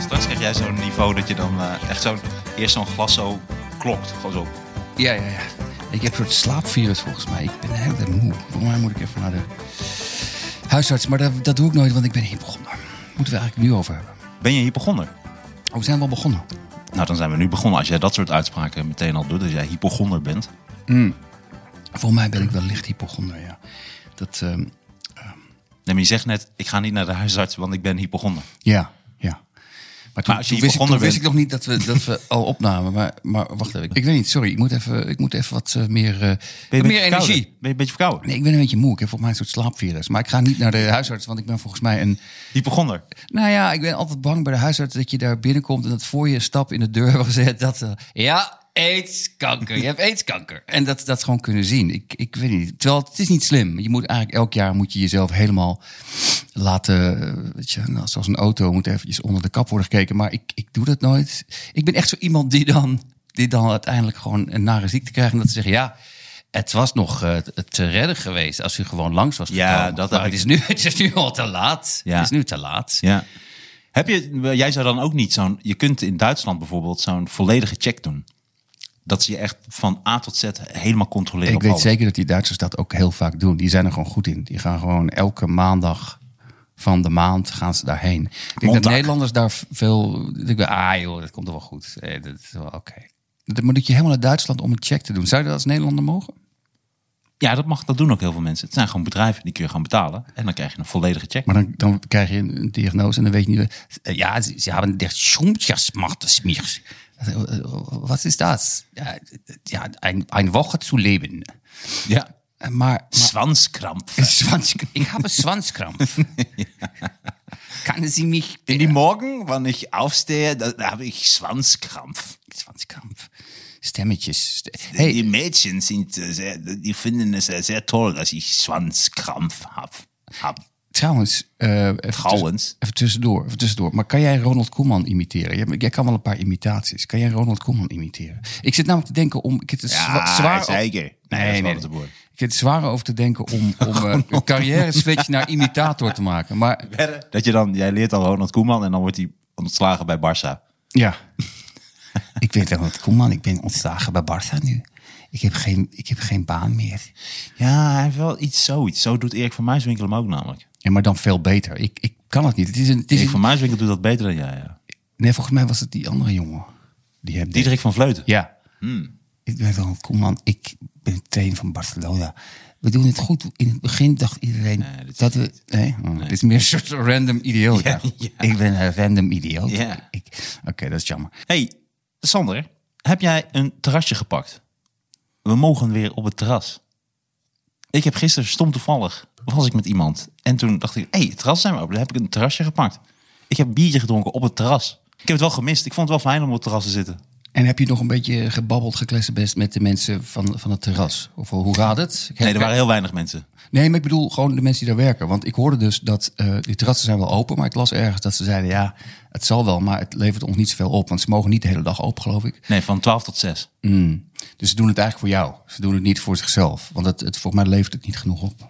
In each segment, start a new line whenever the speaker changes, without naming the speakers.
Straks krijg jij zo'n niveau dat je dan eh, echt zo'n eerst zo'n glas zo klokt. Gewoon zo.
Ja, ja, ja. Ik heb een soort slaapvirus volgens mij. Ik ben de hele tijd moe. Volgens mij moet ik even naar de huisarts. Maar dat, dat doe ik nooit, want ik ben hier begonnen. Moeten we eigenlijk nu over hebben.
Ben je hier begonnen?
Oh, we zijn wel begonnen.
Nou, dan zijn we nu begonnen. Als jij dat soort uitspraken meteen al doet, als jij hypochonder bent.
Volgens mij ben ik wel licht hypochonder, ja. Dat, ehm,
Nee, maar je zegt net, ik ga niet naar de huisarts, want ik ben hypochonder.
ja, ja. Maar toen,
Maar als je
toen wist, ik,
hypochonder
toen wist
bent-
ik nog niet dat we, dat we al opnamen. Maar, maar wacht even. Ik weet niet, sorry. Ik moet even, ik moet even wat eh, meer, eh,
Ben je een
meer
beetje verkouden?
energie.
Ben je een beetje verkouden?
Nee, ik ben een beetje moe. Ik heb volgens mij een soort slaapvirus. Maar ik ga niet naar de huisarts, want ik ben volgens mij een...
Hypochonder.
Nou ja, ik ben altijd bang bij de huisarts dat je daar binnenkomt en dat voor je een stap in de deur wordt gezet dat eh, ja, aidskanker. Je hebt aidskanker. En dat dat gewoon kunnen zien. Ik, ik weet niet. Terwijl het is niet slim. Je moet eigenlijk elk jaar moet je jezelf helemaal laten, eh, weet je, nou, zoals een auto moet eventjes onder de kap worden gekeken. Maar ik, ik doe dat nooit. Ik ben echt zo iemand die dan, die dan uiteindelijk gewoon een nare ziekte krijgt en dat ze zeggen ja. Het was nog eh, te redden geweest als u gewoon langs was
Ja,
gekomen.
dat
maar
heb
het
ik.
is, nu, het is nu al te laat.
Ja.
Het is nu te laat.
Ja. Heb je, jij zou dan ook niet zo'n... Je kunt in Duitsland bijvoorbeeld zo'n volledige check doen. Dat ze je echt van A tot Z helemaal controleren
Ik
op
weet
alles.
zeker dat die Duitsers dat ook heel vaak doen. Die zijn er gewoon goed in. Die gaan gewoon elke maandag van de maand gaan ze daarheen. Ik denk
Mondag.
dat Nederlanders daar veel... Ik denk, ah joh, dat komt er wel goed. Eh, dat is wel oké. Dat- Maar dat je helemaal naar Duitsland om een check te doen. Zou je dat als Nederlander mogen?
Ja, dat, mag, dat doen ook heel veel mensen. Het zijn gewoon bedrijven, die kun je gaan betalen. En dan krijg je een volledige check.
Maar dan, dan krijg je een een diagnose en dan weet je niet... eh, Ja, ze, ze hebben echt Schumpetersmiers. Eh, Wat is dat? Ja, eh, ja een, een woche te leven.
ja.
Eh, Maar, maar
Zwanskramp.
Schwanzk- ich habe Schwanzkrampf. Kann sie mich...
In die Morgen, wanneer ik aufstehe, dan heb ik Schwanzkrampf.
Schwanzkrampf. Stemmetjes. Ste- Hey,
Die Mädchen sind, eh, sehr, die vinden het eh, zeer toll dat ik Schwanzkrampf heb. Hab.
trouwens... eh, even
Trouwens.
tuss- Even tussendoor, even tussendoor. Maar kan jij Ronald Koeman imiteren? Jij, jij kan wel een paar imitaties. Kan jij Ronald Koeman imiteren? Ik zit namelijk te denken om... Ik zit er zwa- zwaar op-
Nee,
Nee, nee. Ik zit er zwaar over te denken om, om eh, een carrière switch naar imitator te maken. Maar
Dat je dan, jij leert al Ronald Koeman en dan wordt hij ontslagen bij Barça.
Ja. ik weet wel wat, Koeman, ik ben ontslagen bij Barca nu. Ik heb geen, ik heb geen baan meer.
Ja, hij heeft wel iets zoiets. Zo doet Erik van Muiswinkel hem ook namelijk.
Ja, maar dan veel beter. Ik, ik kan het niet. Het is een, het is
Erik
een-
van Muiswinkel doet dat beter dan jij, ja.
Nee, volgens mij was het die andere jongen. Die heb
Diederik van Vleuten.
Ja.
Hmm.
Ik ben Ronald Koeman. Ik ben trainer van Barcelona. We doen het goed. In het begin dacht iedereen
dit is
dat we... Nee? Oh, Dit is meer een soort random idioot.
Ja,
eigenlijk. Ik ben een random idioot.
Ja.
Ik- Oké, dat is jammer.
hey, Sander, heb jij een terrasje gepakt? We mogen weer op het terras. Ik heb gisteren stom toevallig, was ik met iemand. En toen dacht ik, hé, hey, het terras zijn we open. Dan heb ik een terrasje gepakt. Ik heb een biertje gedronken op het terras. Ik heb het wel gemist. Ik vond het wel fijn om op het terras te zitten.
En heb je nog een beetje gebabbeld, geklessenbest met de mensen van, van het terras? Of eh, hoe gaat het?
Nee, er waren heel weinig mensen.
nee, maar ik bedoel gewoon de mensen die daar werken. Want ik hoorde dus dat eh, die terrassen zijn wel open, maar ik las ergens dat ze zeiden... ja, het zal wel, maar het levert ons niet zoveel op. Want ze mogen niet de hele dag open, geloof ik.
Nee, van 12 tot 6.
Dus ze doen het eigenlijk voor jou. Ze doen het niet voor zichzelf. Want het, het, volgens mij levert het niet genoeg op.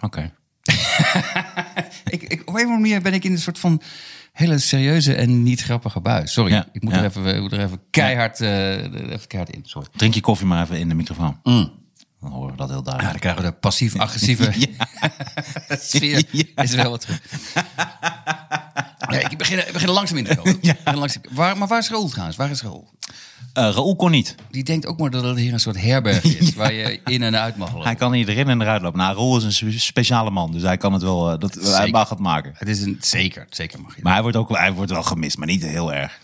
Oké.
Ik, ik, op een of andere manier ben ik in een soort van hele serieuze en niet grappige buis. Sorry,
Ja,
ik, moet
ja.
er even, ik moet er even keihard, eh, even keihard in. Sorry.
Drink je koffie maar even in de microfoon. Dan horen we dat heel
Ja,
duidelijk.
dan krijgen we de passief-agressieve sfeer. Is wel wat terug. Nee, ik, begin, ik begin er langzaam in te komen. Ik begin er langzaam- Waar, maar waar is Raoul trouwens? Waar is Raoul?
Eh, Raoul kon niet.
Die denkt ook maar dat het hier een soort herberg is... waar je in en uit mag
Hij
lopen.
kan hier erin en eruit lopen. Nou, Raoul is een spe- speciale man, dus hij kan het wel, eh, dat, hij mag het maken.
Het is een, zeker, zeker mag je.
Maar hij wordt, ook, hij wordt wel gemist, maar niet heel erg.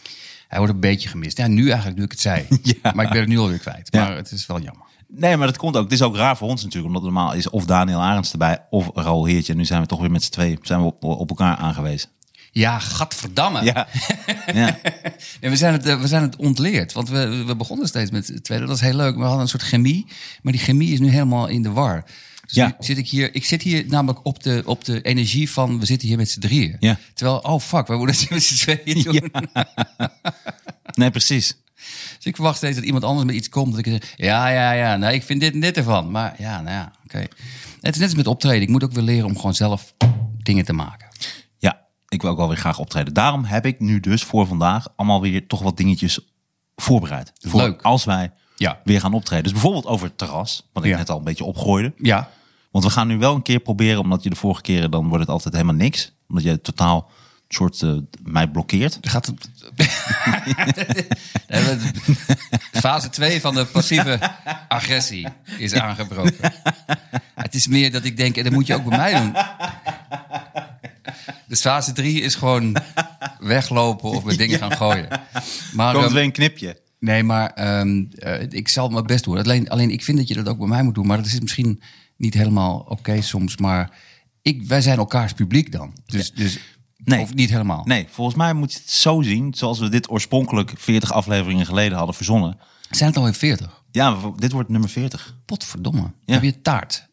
Hij wordt een beetje gemist. Ja, nu eigenlijk, nu ik het zei.
Ja.
Maar ik ben het nu alweer kwijt.
Ja.
Maar het is wel jammer.
Nee, maar dat komt ook. Het is ook raar voor ons natuurlijk, omdat normaal is of Daniel Arends erbij of Raoul Heertje. En nu zijn we toch weer met z'n tweeën zijn we op, op elkaar aangewezen.
Ja, gadverdamme.
Ja. ja.
Nee, we, zijn het, eh, we zijn het ontleerd. Want we, we begonnen steeds met het tweede. Dat is heel leuk. We hadden een soort chemie. Maar die chemie is nu helemaal in de war. Dus
Ja.
nu zit ik hier. Ik zit hier namelijk op de, op de energie van. We zitten hier met z'n drieën.
Ja.
Terwijl, oh fuck, we moeten het met z'n tweeën doen.
Nee, precies.
Dus ik verwacht steeds dat iemand anders met iets komt. Dat ik zeg, ja, ja, ja. Nou, ik vind dit en dit ervan. Maar ja, nou ja, oké. Het is net als met optreden. Ik moet ook weer leren om gewoon zelf dingen te maken.
Ja, ik wil ook wel weer graag optreden. Daarom heb ik nu dus voor vandaag allemaal weer toch wat dingetjes voorbereid. Voor
Leuk.
Als wij
Ja.
weer gaan optreden. Dus bijvoorbeeld over het terras, wat ik
Ja.
net al een beetje opgooide.
Ja.
Want we gaan nu wel een keer proberen, omdat je de vorige keren dan wordt het altijd helemaal niks. Omdat jij totaal een soort eh, mij blokkeert.
Gaat het... Nee, we- Fase 2 van de passieve agressie is aangebroken. Het is meer dat ik denk, en dat moet je ook bij mij doen. Dus fase 3 is gewoon weglopen of met dingen gaan gooien. Maar,
Komt
ehm,
weer een knipje.
nee, maar ehm, eh, ik zal mijn best doen. Alleen, alleen ik vind dat je dat ook bij mij moet doen. Maar dat is misschien niet helemaal oké soms. Maar ik, wij zijn elkaars publiek dan. Dus, dus
Nee.
Of niet helemaal.
Nee, volgens mij moet je het zo zien, zoals we dit oorspronkelijk 40 afleveringen geleden hadden verzonnen.
Zijn het alweer 40?
Ja, we- dit wordt nummer 40.
Potverdomme.
Ja.
Heb je taart?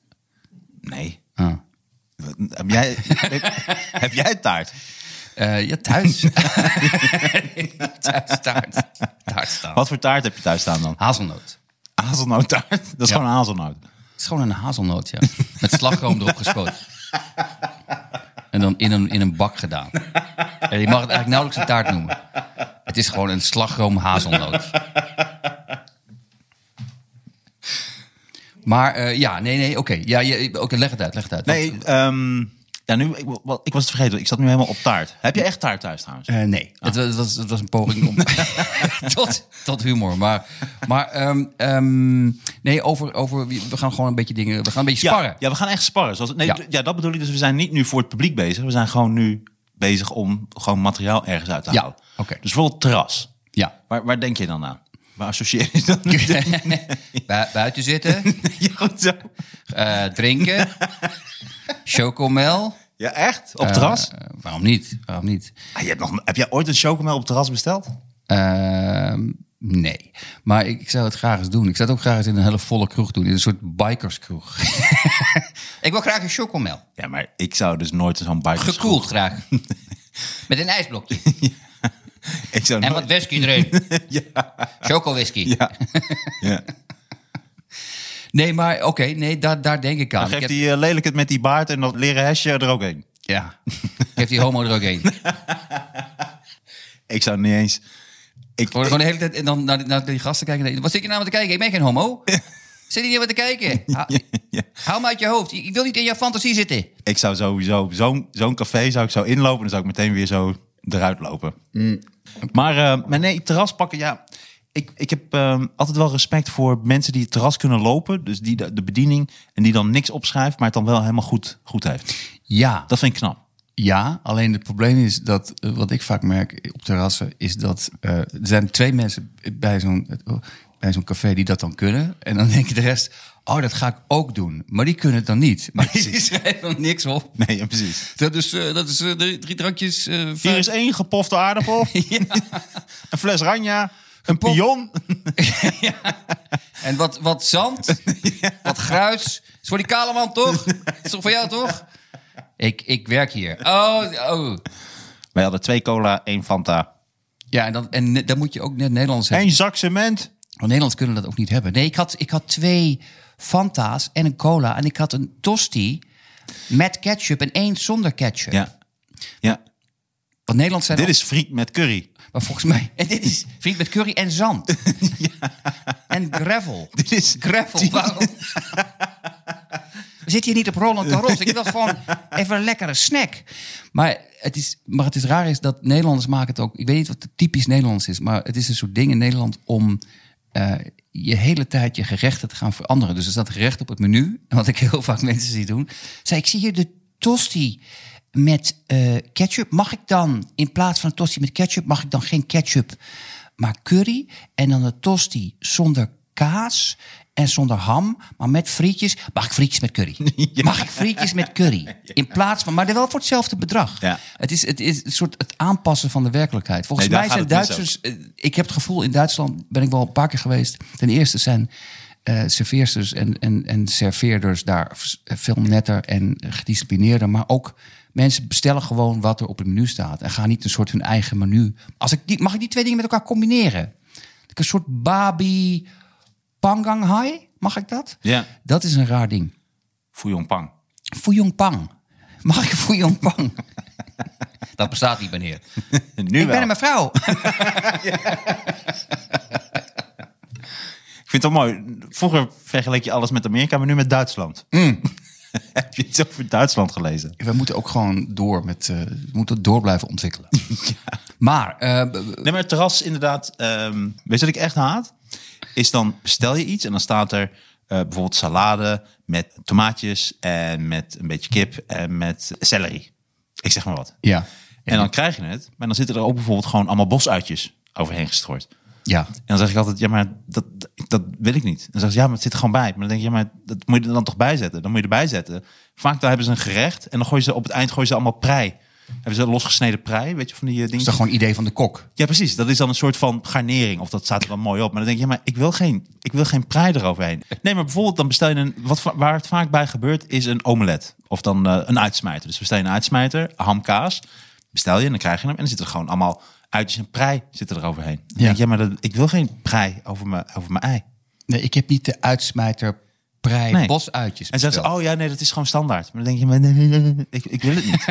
Nee.
Ah.
Heb jij, heb, heb jij taart?
Eh, ja, thuis. thuis taart. Taart staan.
Wat voor taart heb je thuis staan dan?
Hazelnoot.
Hazelnoottaart? Dat is
Ja.
gewoon een hazelnoot.
Het is gewoon een hazelnoot, ja. Met slagroom erop gespoten. En dan in een, in een bak gedaan. En je mag het eigenlijk nauwelijks een taart noemen. Het is gewoon een slagroom hazelnoot. Maar eh, ja, nee, nee, oké. Ja, je- oké, leg het uit, leg het uit. Want-
Nee, ehm, ja, nu, ik, wa- ik was het vergeten. Ik zat nu helemaal op taart. Heb je echt taart thuis trouwens?
Eh, nee, het, wa- het was, het was een poging om tot, tot humor. Maar, maar ehm, ehm, nee, over, over, we gaan gewoon een beetje dingen, we gaan een beetje
Ja,
sparren.
Ja, we gaan echt sparren. Zoals, nee,
Ja.
d- ja. dat bedoel ik. Dus we zijn niet nu voor het publiek bezig. We zijn gewoon nu bezig om gewoon materiaal ergens uit te
Ja,
halen.
oké.
Dus bijvoorbeeld terras.
Ja.
Waar, waar denk je dan aan? Waar associeer je dan?
Bu- buiten zitten,
ja, goed zo.
eh, drinken, chocomel.
Ja, echt? Op
Eh,
terras?
eh, waarom niet? Waarom niet?
Ah, je hebt nog, heb jij ooit een chocomel op terras besteld?
Ehm, nee, maar ik, ik zou het graag eens doen. Ik zou het ook graag eens in een hele volle kroeg doen, in een soort bikerskroeg. ik wil graag een chocomel,
Ja, maar ik zou dus nooit zo'n bike
gekoeld graag. Met een ijsblokje.
Ik zou
En
nooit...
wat whisky erin. Choco whisky.
Ja. ja.
Nou, Nee, maar oké, nee, daar, daar denk ik aan.
Dan geeft
Ik heb-
die eh, lelijk het met die baard en dat leren hesje er ook heen.
Ja, geeft die homo er ook heen.
Ik zou niet eens... Ik,
Gewoon, gewoon de hele tijd en dan naar die, naar die gasten kijken. Nee, Wat zit je nou aan te kijken? Ik ben geen homo. Zit je hier wat te kijken? Ha-
ja.
Hou me uit je hoofd. Ik wil niet in jouw fantasie zitten.
ik zou sowieso zo'n zo'n café zou ik zo inlopen en dan zou ik meteen weer zo eruit lopen.
Mm.
Maar, eh, maar nee, terras pakken, ja. Ik, ik heb eh, altijd wel respect voor mensen die het terras kunnen lopen. Dus die de, de bediening en die dan niks opschrijft, maar het dan wel helemaal goed, goed heeft.
Ja,
Dat vind ik knap.
ja, alleen het probleem is dat, eh, wat ik vaak merk op terrassen, is dat eh, er zijn twee mensen bij zo'n eh, bij zo'n café die dat dan kunnen. En dan denk je de rest, oh, dat ga ik ook doen. Maar die kunnen het dan niet. Maar die schrijven dan niks op.
Nee, ja, precies.
Dat is, eh, dat is eh, drie, drie drankjes. eh,
Hier
vijf-
is één gepofte aardappel, een fles ranja, een
pof-
pion.
En wat, wat zand, wat gruis. is voor die kale man toch? is toch voor jou toch? Ik, ik werk hier. Oh, oh.
Wij hadden twee cola, één Fanta,
Ja, en dan, en ne- dan moet je ook net Nederlands hebben.
één zak cement.
Want Nederlands kunnen dat ook niet hebben. Nee, ik had, ik had twee Fanta's en een cola. En ik had een tosti met ketchup en één zonder ketchup.
Ja, ja.
Want Nederlands zijn
dit is friet met curry.
Maar volgens mij... En dit is vriend met curry en zand. En gravel.
Dit is
Gravel, waarom? We zitten hier niet op Roland Garros. Ik wil gewoon even een lekkere snack. Maar het is, maar het is raar is dat Nederlanders maken het ook... Ik weet niet wat het typisch Nederlands is... maar het is een soort ding in Nederland om... eh, je hele tijd je gerechten te gaan veranderen. Dus er staat gerecht op het menu. en Wat ik heel vaak mensen zie doen. Zei, ik zie hier de tosti met eh, ketchup. Mag ik dan, in plaats van een tosti met ketchup... mag ik dan geen ketchup, maar curry? En dan een tosti zonder kaas en zonder ham, maar met frietjes. Mag ik frietjes met curry? Mag ik frietjes met curry? In plaats van, maar wel voor hetzelfde bedrag.
Ja.
Het is het is een soort het aanpassen van de werkelijkheid. Volgens
Nee,
mij
daar
zijn
gaat het mis
Duitsers. eh, Ik heb het gevoel in Duitsland ben ik wel een paar keer geweest. Ten eerste zijn eh serveersters en, en, en serveerders daar v- veel netter en gedisciplineerder, maar ook mensen bestellen gewoon wat er op het menu staat en gaan niet een soort hun eigen menu. Als ik die, mag ik die twee dingen met elkaar combineren? Een soort babi pangang hai, mag ik dat?
Ja.
Dat is een raar ding.
Fuyong Pang.
Fuyong pang. Mag ik fuyong pang? dat bestaat niet, meneer.
Nu
ik
wel.
ben een mevrouw.
Ik vind het wel mooi. Vroeger vergeleek je alles met Amerika, maar nu met Duitsland. Heb je iets over Duitsland gelezen?
We moeten ook gewoon door met. eh, we moeten door blijven ontwikkelen. Maar. eh, b-
Nee,
b-
maar het terras inderdaad. ehm, weet je wat ik echt haat? Is dan bestel je iets en dan staat er eh, bijvoorbeeld salade met tomaatjes en met een beetje kip en met celery. Ik zeg maar wat.
ja.
En dan krijg je het, maar dan zitten er ook bijvoorbeeld gewoon allemaal bosuitjes overheen gestrooid.
Ja.
En dan zeg ik altijd, ja, maar dat, dat wil ik niet. En dan zeggen ze, ja, maar het zit er gewoon bij. Maar dan denk je, ja, maar dat moet je er dan toch bij zetten? Dan moet je erbij zetten. Vaak daar hebben ze een gerecht en dan gooien ze op het eind gooien ze allemaal prei. Hebben ze losgesneden prei, weet je, van die eh,
Dat
dingen.
is toch gewoon een idee van de kok?
Ja, precies. Dat is dan een soort van garnering. Of dat staat er dan mooi op. Maar dan denk je, ja, maar ik wil geen, ik wil geen prei eroverheen. Nee, maar bijvoorbeeld dan bestel je een... Wat, va- waar het vaak bij gebeurt, is een omelet. Of dan eh, een uitsmijter. Dus bestel je een uitsmijter, hamkaas. Bestel je en dan krijg je hem. En dan zitten er gewoon allemaal uitjes en prei zitten er overheen. Dan
Ja.
denk je, ja, maar dat, ik wil geen prei over mijn, over mijn ei.
Nee, ik heb niet de uitsmijter prei
Nee.
bosuitjes.
En dan zeggen ze, oh ja, nee, dat is gewoon standaard. Maar dan denk je, maar nee, nee, nee, nee, ik, ik wil het niet.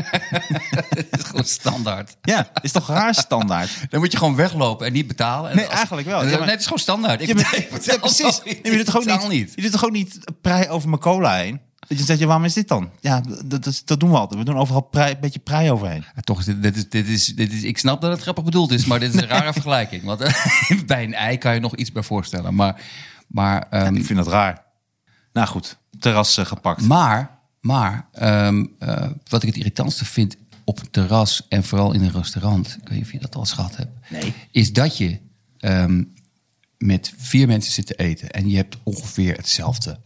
dat is gewoon standaard.
ja, is toch raar standaard?
Dan moet je gewoon weglopen en niet betalen. En
Nee, eigenlijk wel.
En dan-
Ja, maar-
nee, het is gewoon standaard. Ik
Ja, maar-
betaal- ik betaal
ja, precies.
nooit.
Nee, maar je doet toch
Ik
ook
betaal
niet, je doet toch ook niet prei over mijn cola heen? Dat je zegt, ja, waarom is dit dan? Ja, dat, dat, dat doen we altijd. We doen overal prei, een beetje prei overheen.
Ja, toch, is dit, dit, is, dit, is, dit is. Ik snap dat het grappig bedoeld is, maar dit is een rare vergelijking. Want eh, bij een ei kan je nog iets bij voorstellen. Maar, maar ehm,
Ik vind dat raar. Nou goed, terras eh, gepakt.
Maar, maar ehm, eh, wat ik het irritantste vind op een terras en vooral in een restaurant, ik weet niet of je dat al eens gehad hebt, is dat je ehm, met vier mensen zit te eten en je hebt ongeveer hetzelfde.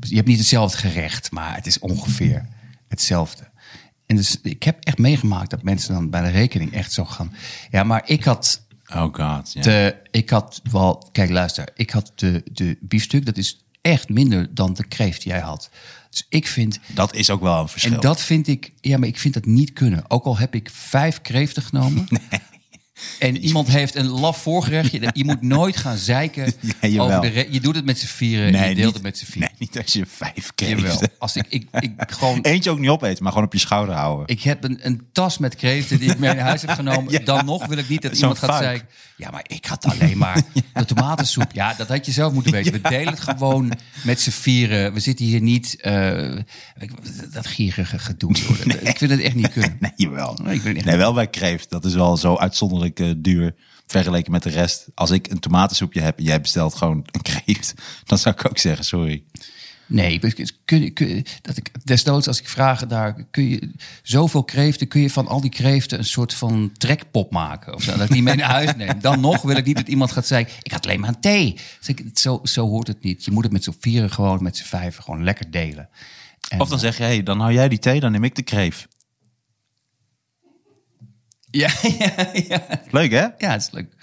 Je hebt niet hetzelfde gerecht, maar het is ongeveer hetzelfde. En dus ik heb echt meegemaakt dat mensen dan bij de rekening echt zo gaan. Ja, maar ik had
oh god, ja.
de, ik had wel, kijk, luister. Ik had de, de biefstuk, dat is echt minder dan de kreeft die jij had. Dus ik vind,
Dat is ook wel een verschil.
en dat vind ik, ja, maar ik vind dat niet kunnen. Ook al heb ik vijf kreeften genomen. En iemand heeft een laf voorgerechtje. Je moet nooit gaan zeiken
Ja, jawel.
over de... re- Je doet het met z'n vieren. en je deelt
niet-
het met z'n
Nee,
vieren.
niet als je vijf
Jawel.
kreeften...
Als ik, ik, ik gewoon...
Eentje ook niet opeten, maar gewoon op je schouder houden.
Ik heb een, een tas met kreeften die ik mee naar huis heb genomen. Dan nog wil ik niet dat
Zo'n
iemand gaat
fuik.
zeggen... Ja, maar ik had alleen maar de tomatensoep. Ja, dat had je zelf moeten weten. We delen het gewoon met z'n vieren. We zitten hier niet... eh, ik- dat gierige gedoe. joh. Dat- Ik vind het echt niet kunnen.
Nee, jawel.
Nee, ik weet niet.
Nee, wel bij kreeft. Dat is wel zo uitzonderlijk eh, duur vergeleken met de rest. Als ik een tomatensoepje heb en jij bestelt gewoon een kreeft... dan zou ik ook zeggen, sorry.
Nee, maar kun, kun, dat ik, desnoods als ik vraag daar, kun je zoveel kreeften, kun je van al die kreeften een soort van trekpop maken? Of zo, dat ik die mee naar huis neem. Dan nog wil ik niet dat iemand gaat zeggen, ik had alleen maar een thee. Dus ik, zo, zo hoort het niet. Je moet het met z'n vieren gewoon, met z'n vijven gewoon lekker delen. En- eh,
Of dan zeg je, hey, dan hou jij die thee, dan neem ik de kreef.
Ja, ja, ja.
Leuk, hè?
Ja, het is leuk.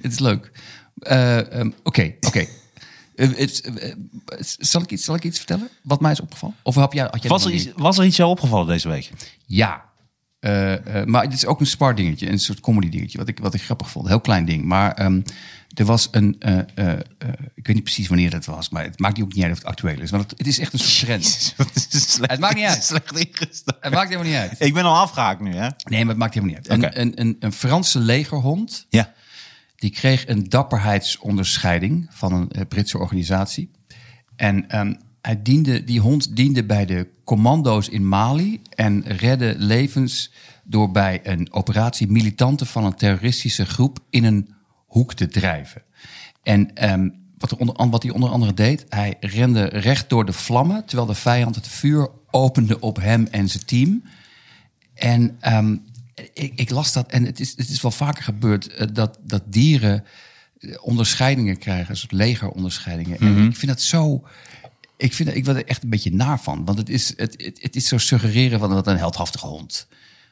Het is leuk. Eh, ehm, Oké, oké. Eh, het- eh, Zal ik iets- zal ik iets vertellen wat mij is opgevallen? Of heb jij, had jij
Was
dat
er,
nog niet?
iets, was er iets jou opgevallen deze week?
Ja. Eh, eh, maar het is ook een spar dingetje, een soort comedy dingetje, wat ik, wat ik grappig vond. Een heel klein ding. Maar ehm, er was een, eh, eh, eh, ik weet niet precies wanneer dat was, maar het maakt niet ook niet uit of het actueel is. Want het, het is echt een soort trend.
Wat is het slecht-
Het maakt niet uit.
Slecht ingesteld.
Het maakt helemaal niet uit.
Ik ben al afgehaakt nu, hè?
Nee, maar het maakt helemaal niet uit. Een,
Oké.
een, een, een Franse legerhond,
Ja.
die kreeg een dapperheidsonderscheiding van een eh, Britse organisatie. En ehm, hij diende, die hond diende bij de commando's in Mali en redde levens door bij een operatie militanten van een terroristische groep in een hoek te drijven. En ehm, wat, er onder, an- wat hij onder andere deed, hij rende recht door de vlammen terwijl de vijand het vuur opende op hem en zijn team. En ehm, ik, ik las dat, en het is, het is wel vaker gebeurd, eh, dat, dat dieren eh, onderscheidingen krijgen, een soort legeronderscheidingen.
Mhm.
En ik vind dat zo. Ik, vind, dat- ik word er echt een beetje naar van. Want het is, het, het, het is zo suggereren van wat een heldhaftige hond.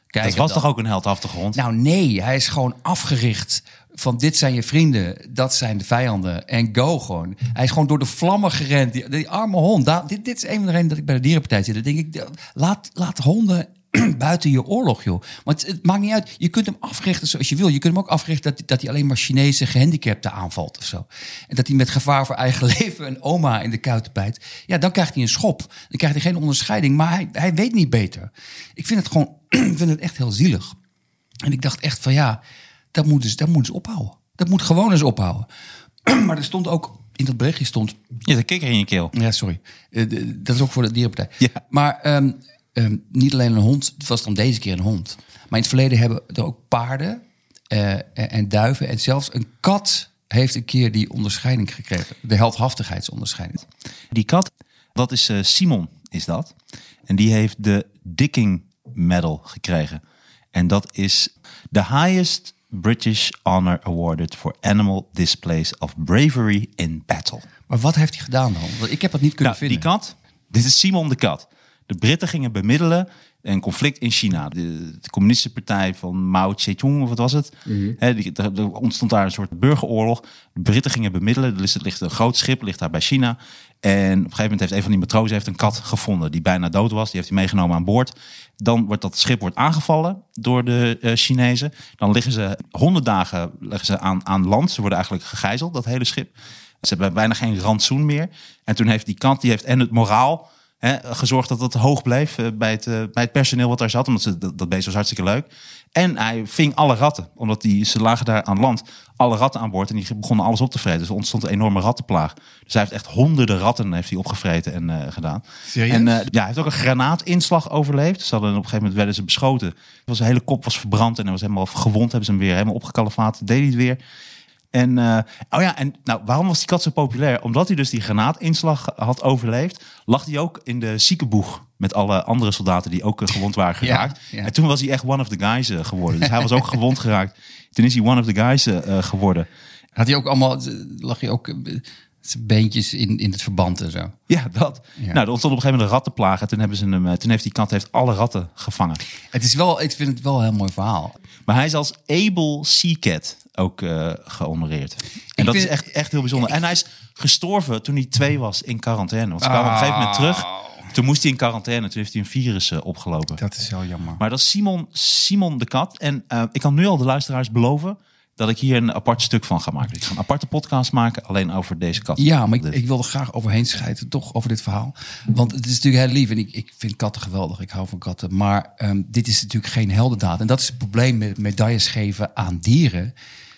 Kijk,
dat was
dan-
toch ook een heldhaftige hond?
nou nee, hij is gewoon afgericht van dit zijn je vrienden, dat zijn de vijanden en go gewoon. Hij is gewoon door de vlammen gerend. Die, die arme hond. Daar- dit, dit is een van de redenen dat ik bij de dierenpartij zit. Dan denk ik, laat, laat honden buiten je oorlog, joh. Want het, maakt niet uit. Je kunt hem africhten zoals je wil. Je kunt hem ook africhten dat, dat hij alleen maar Chinese gehandicapten aanvalt of zo. En dat hij met gevaar voor eigen leven een oma in de kuiten bijt. Ja, dan krijgt hij een schop. Dan krijgt hij geen onderscheiding. Maar hij, hij weet niet beter. Ik vind het gewoon, ik vind het echt heel zielig. En ik dacht echt van ja, dat moet dus, dat moet eens ophouden. Dat moet gewoon eens ophouden. maar er stond ook, in dat berichtje stond...
Je hebt een kikker in je keel.
Ja, sorry. Eh, de- dat is ook voor de dierenpartij.
Ja.
Maar ehm, ehm, niet alleen een hond. Het was dan deze keer een hond. Maar in het verleden hebben er ook paarden eh, en, en duiven. En zelfs een kat heeft een keer die onderscheiding gekregen. De heldhaftigheidsonderscheiding.
Die kat, dat is eh, Simon, is dat. En die heeft de Dicking Medal gekregen. En dat is the highest British honor awarded for animal displays of bravery in battle.
Maar wat heeft hij gedaan dan? Want ik heb het niet kunnen
Nou,
vinden.
die kat, dit is Simon de kat. De Britten gingen bemiddelen een conflict in China. De, de communistische partij van Mao Zedong, of wat was het?
Mhm.
Hè, die, er, er ontstond daar een soort burgeroorlog. De Britten gingen bemiddelen. Er ligt, ligt een groot schip, ligt daar bij China. En op een gegeven moment heeft een van die matrozen heeft een kat gevonden... die bijna dood was. Die heeft hij meegenomen aan boord. Dan wordt dat schip wordt aangevallen door de eh, Chinezen. Dan liggen ze honderd dagen liggen ze aan, aan land. Ze worden eigenlijk gegijzeld, dat hele schip. Ze hebben bijna geen rantsoen meer. En toen heeft die kant, die heeft en het moraal hè, gezorgd dat het hoog bleef eh, bij het, eh, bij het personeel wat daar zat. Omdat ze, dat, dat beest was hartstikke leuk. En hij ving alle ratten, omdat die, ze lagen daar aan land. Alle ratten aan boord en die begonnen alles op te vreten. Dus er ontstond een enorme rattenplaag. Dus hij heeft echt honderden ratten heeft hij opgevreten en eh, gedaan.
Serieus?
En eh, ja, hij heeft ook een granaatinslag overleefd. Ze hadden op een gegeven moment werden ze beschoten. Er Was, zijn hele kop was verbrand en hij was helemaal gewond. Hebben ze hem weer helemaal opgekalefaat. Deed hij het weer. En, eh, oh ja, en nou, waarom was die kat zo populair? Omdat hij dus die granaatinslag had overleefd, lag hij ook in de ziekenboeg met alle andere soldaten die ook eh, gewond waren geraakt.
Ja, ja.
En toen was hij echt one of the guys eh, geworden. Dus hij was ook gewond geraakt. Toen is hij one of the guys eh, eh, geworden.
Had hij ook allemaal... Lag hij ook eh, zijn beentjes in, in het verband en zo?
Ja, dat.
Ja.
Nou, er ontstond op een gegeven moment een rattenplaag. En toen, hebben ze hem, eh, toen heeft die kat heeft alle ratten gevangen.
Het is wel, ik vind het wel een heel mooi verhaal.
Maar hij is als Able Sea Cat ook eh gehonoreerd. En dat
vind-
is echt, echt heel bijzonder. En hij is gestorven toen hij twee was in quarantaine.
Ah.
Want ze kwamen op een gegeven moment terug. Toen moest hij in quarantaine. Toen heeft hij een virus eh, opgelopen.
Dat is heel jammer.
Maar dat is Simon, Simon de Kat. En eh, ik kan nu al de luisteraars beloven dat ik hier een apart stuk van ga maken. Dus ik ga een aparte podcast maken alleen over deze kat.
Ja, maar ik,
Dit.
ik wil er graag overheen schijten, toch, over dit verhaal. Want het is natuurlijk heel lief en ik, ik vind katten geweldig. Ik hou van katten. Maar ehm, dit is natuurlijk geen heldendaad. En dat is het probleem met medailles geven aan dieren.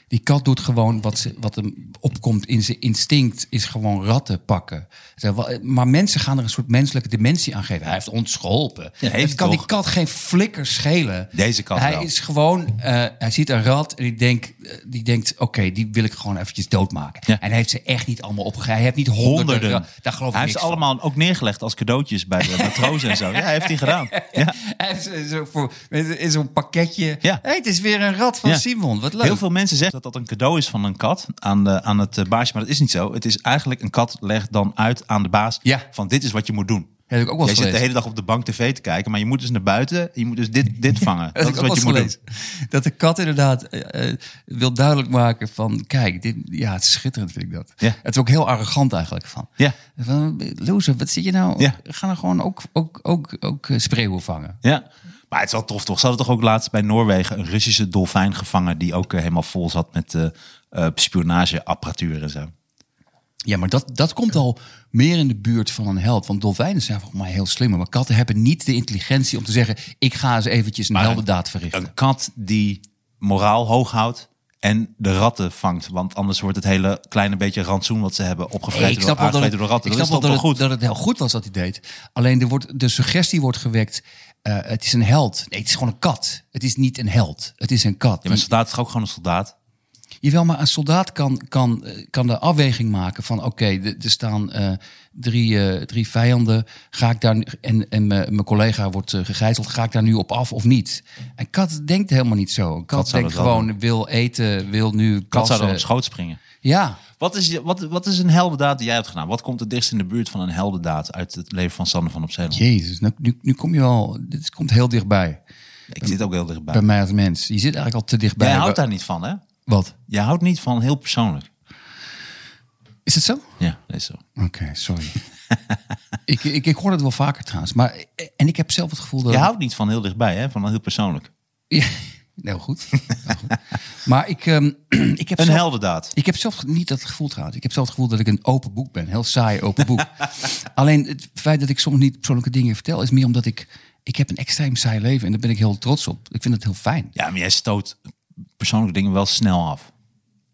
Die kat doet gewoon wat, ze, wat hem opkomt in zijn instinct, is gewoon ratten pakken. Zo, wa- Maar mensen gaan er een soort menselijke dimensie aan geven. Hij heeft ons geholpen.
Ja, heeft
het kan die
toch?
kat geen flikker schelen.
Deze kat
Hij
wel.
is gewoon, eh, hij ziet een rat en die denkt, eh, die denkt oké, die wil ik gewoon eventjes doodmaken.
Ja.
En hij heeft ze echt niet allemaal opgegeven. Hij heeft niet honderden.
Honderden.
ra- Daar geloof ik
hij heeft
niks
ze
van.
allemaal ook neergelegd als cadeautjes bij de matrozen en zo. Ja, heeft hij gedaan. Ja.
Hij heeft ze zo voor, met- in zo'n pakketje.
Ja.
Hey, het is weer een rat van
Ja.
Simon. Wat leuk.
Heel veel mensen zeggen dat dat een cadeau is van een kat aan, de, aan het eh, baasje. Maar dat is niet zo. Het is eigenlijk een kat legt dan uit aan de baas
Ja.
van dit is wat je moet doen.
Dat heb ik ook wel
Jij
eens
zit de
gelezen.
hele dag op de bank tv te kijken, maar je moet dus naar buiten. Je moet dus dit, dit vangen.
Dat
dat
heb
is
ik ook
wat je
wel
moet
eens
doen.
gelezen. Dat de kat inderdaad eh, eh, wil duidelijk maken van... kijk, dit, ja, het is schitterend vind ik dat.
Ja.
Het is ook heel arrogant eigenlijk van.
Ja.
Van, Loser, wat zit je nou?
Ja.
Ga dan gewoon ook, ook, ook, ook eh, spreeuwen vangen.
Ja. Maar het is wel tof toch? Ze hadden toch ook laatst bij Noorwegen een Russische dolfijn gevangen... die ook eh, helemaal vol zat met eh, eh, spionageapparatuur en zo.
Ja, maar dat, dat komt al meer in de buurt van een held. Want dolfijnen zijn volgens mij heel slim. Maar katten hebben niet de intelligentie om te zeggen... ik ga eens eventjes een heldendaad verrichten.
Een kat die moraal hoog houdt en de ratten vangt. Want anders wordt het hele kleine beetje rantsoen wat ze hebben opgevreten
Hey, ik snap
door,
wel dat het,
aangevreten door ratten.
ik
dat
snap
is
wel
toch
dat,
wel goed?
het, dat het heel goed was dat hij deed. Alleen er wordt, de suggestie wordt gewekt... eh, het is een held. Nee, het is gewoon een kat. Het is niet een held. Het is een kat.
Ja, maar een
Die-
soldaat is toch ook gewoon een soldaat?
Jawel, maar een soldaat kan, kan, eh, kan de afweging maken van... oké, er er staan eh, drie, eh, drie vijanden, ga ik daar, nu- en, en me- mijn collega wordt eh, gegijzeld... ga ik daar nu op af of niet? En Kat denkt helemaal niet zo. Een Kat,
zou
denkt
dat wel
gewoon, wil eten, wil nu
Kat zou
plassen.
dan op schoot springen.
Ja.
Wat is, je- wat, wat is een heldendaad die jij hebt gedaan? Wat komt het dichtst in de buurt van een heldendaad uit het leven van Sander van Opzijl?
Jezus, nou, nu, nu kom je wel... Dit komt heel dichtbij.
Ik zit ook heel dichtbij.
Bij mij als mens. Je zit eigenlijk al te dichtbij.
Jij houdt daar niet van, hè?
Wat?
Jij houdt niet van heel persoonlijk.
Is het zo?
Ja, dat is zo.
Oké, sorry. ik, ik, ik hoor het wel vaker trouwens. Maar, eh, en ik heb zelf het gevoel dat...
Je houdt niet van heel dichtbij, hè? Van heel persoonlijk.
Ja, heel goed. Heel goed. maar ik, ehm, ik heb
Een
zelf...
heldendaad.
Ik heb zelf niet dat gevoel trouwens. Ik heb zelf het gevoel dat ik een open boek ben. Heel saai open boek. Alleen het feit dat ik soms niet persoonlijke dingen vertel... is meer omdat ik... Ik heb een extreem saai leven en daar ben ik heel trots op. Ik vind het heel fijn.
Ja, maar jij stoot persoonlijke dingen wel snel af.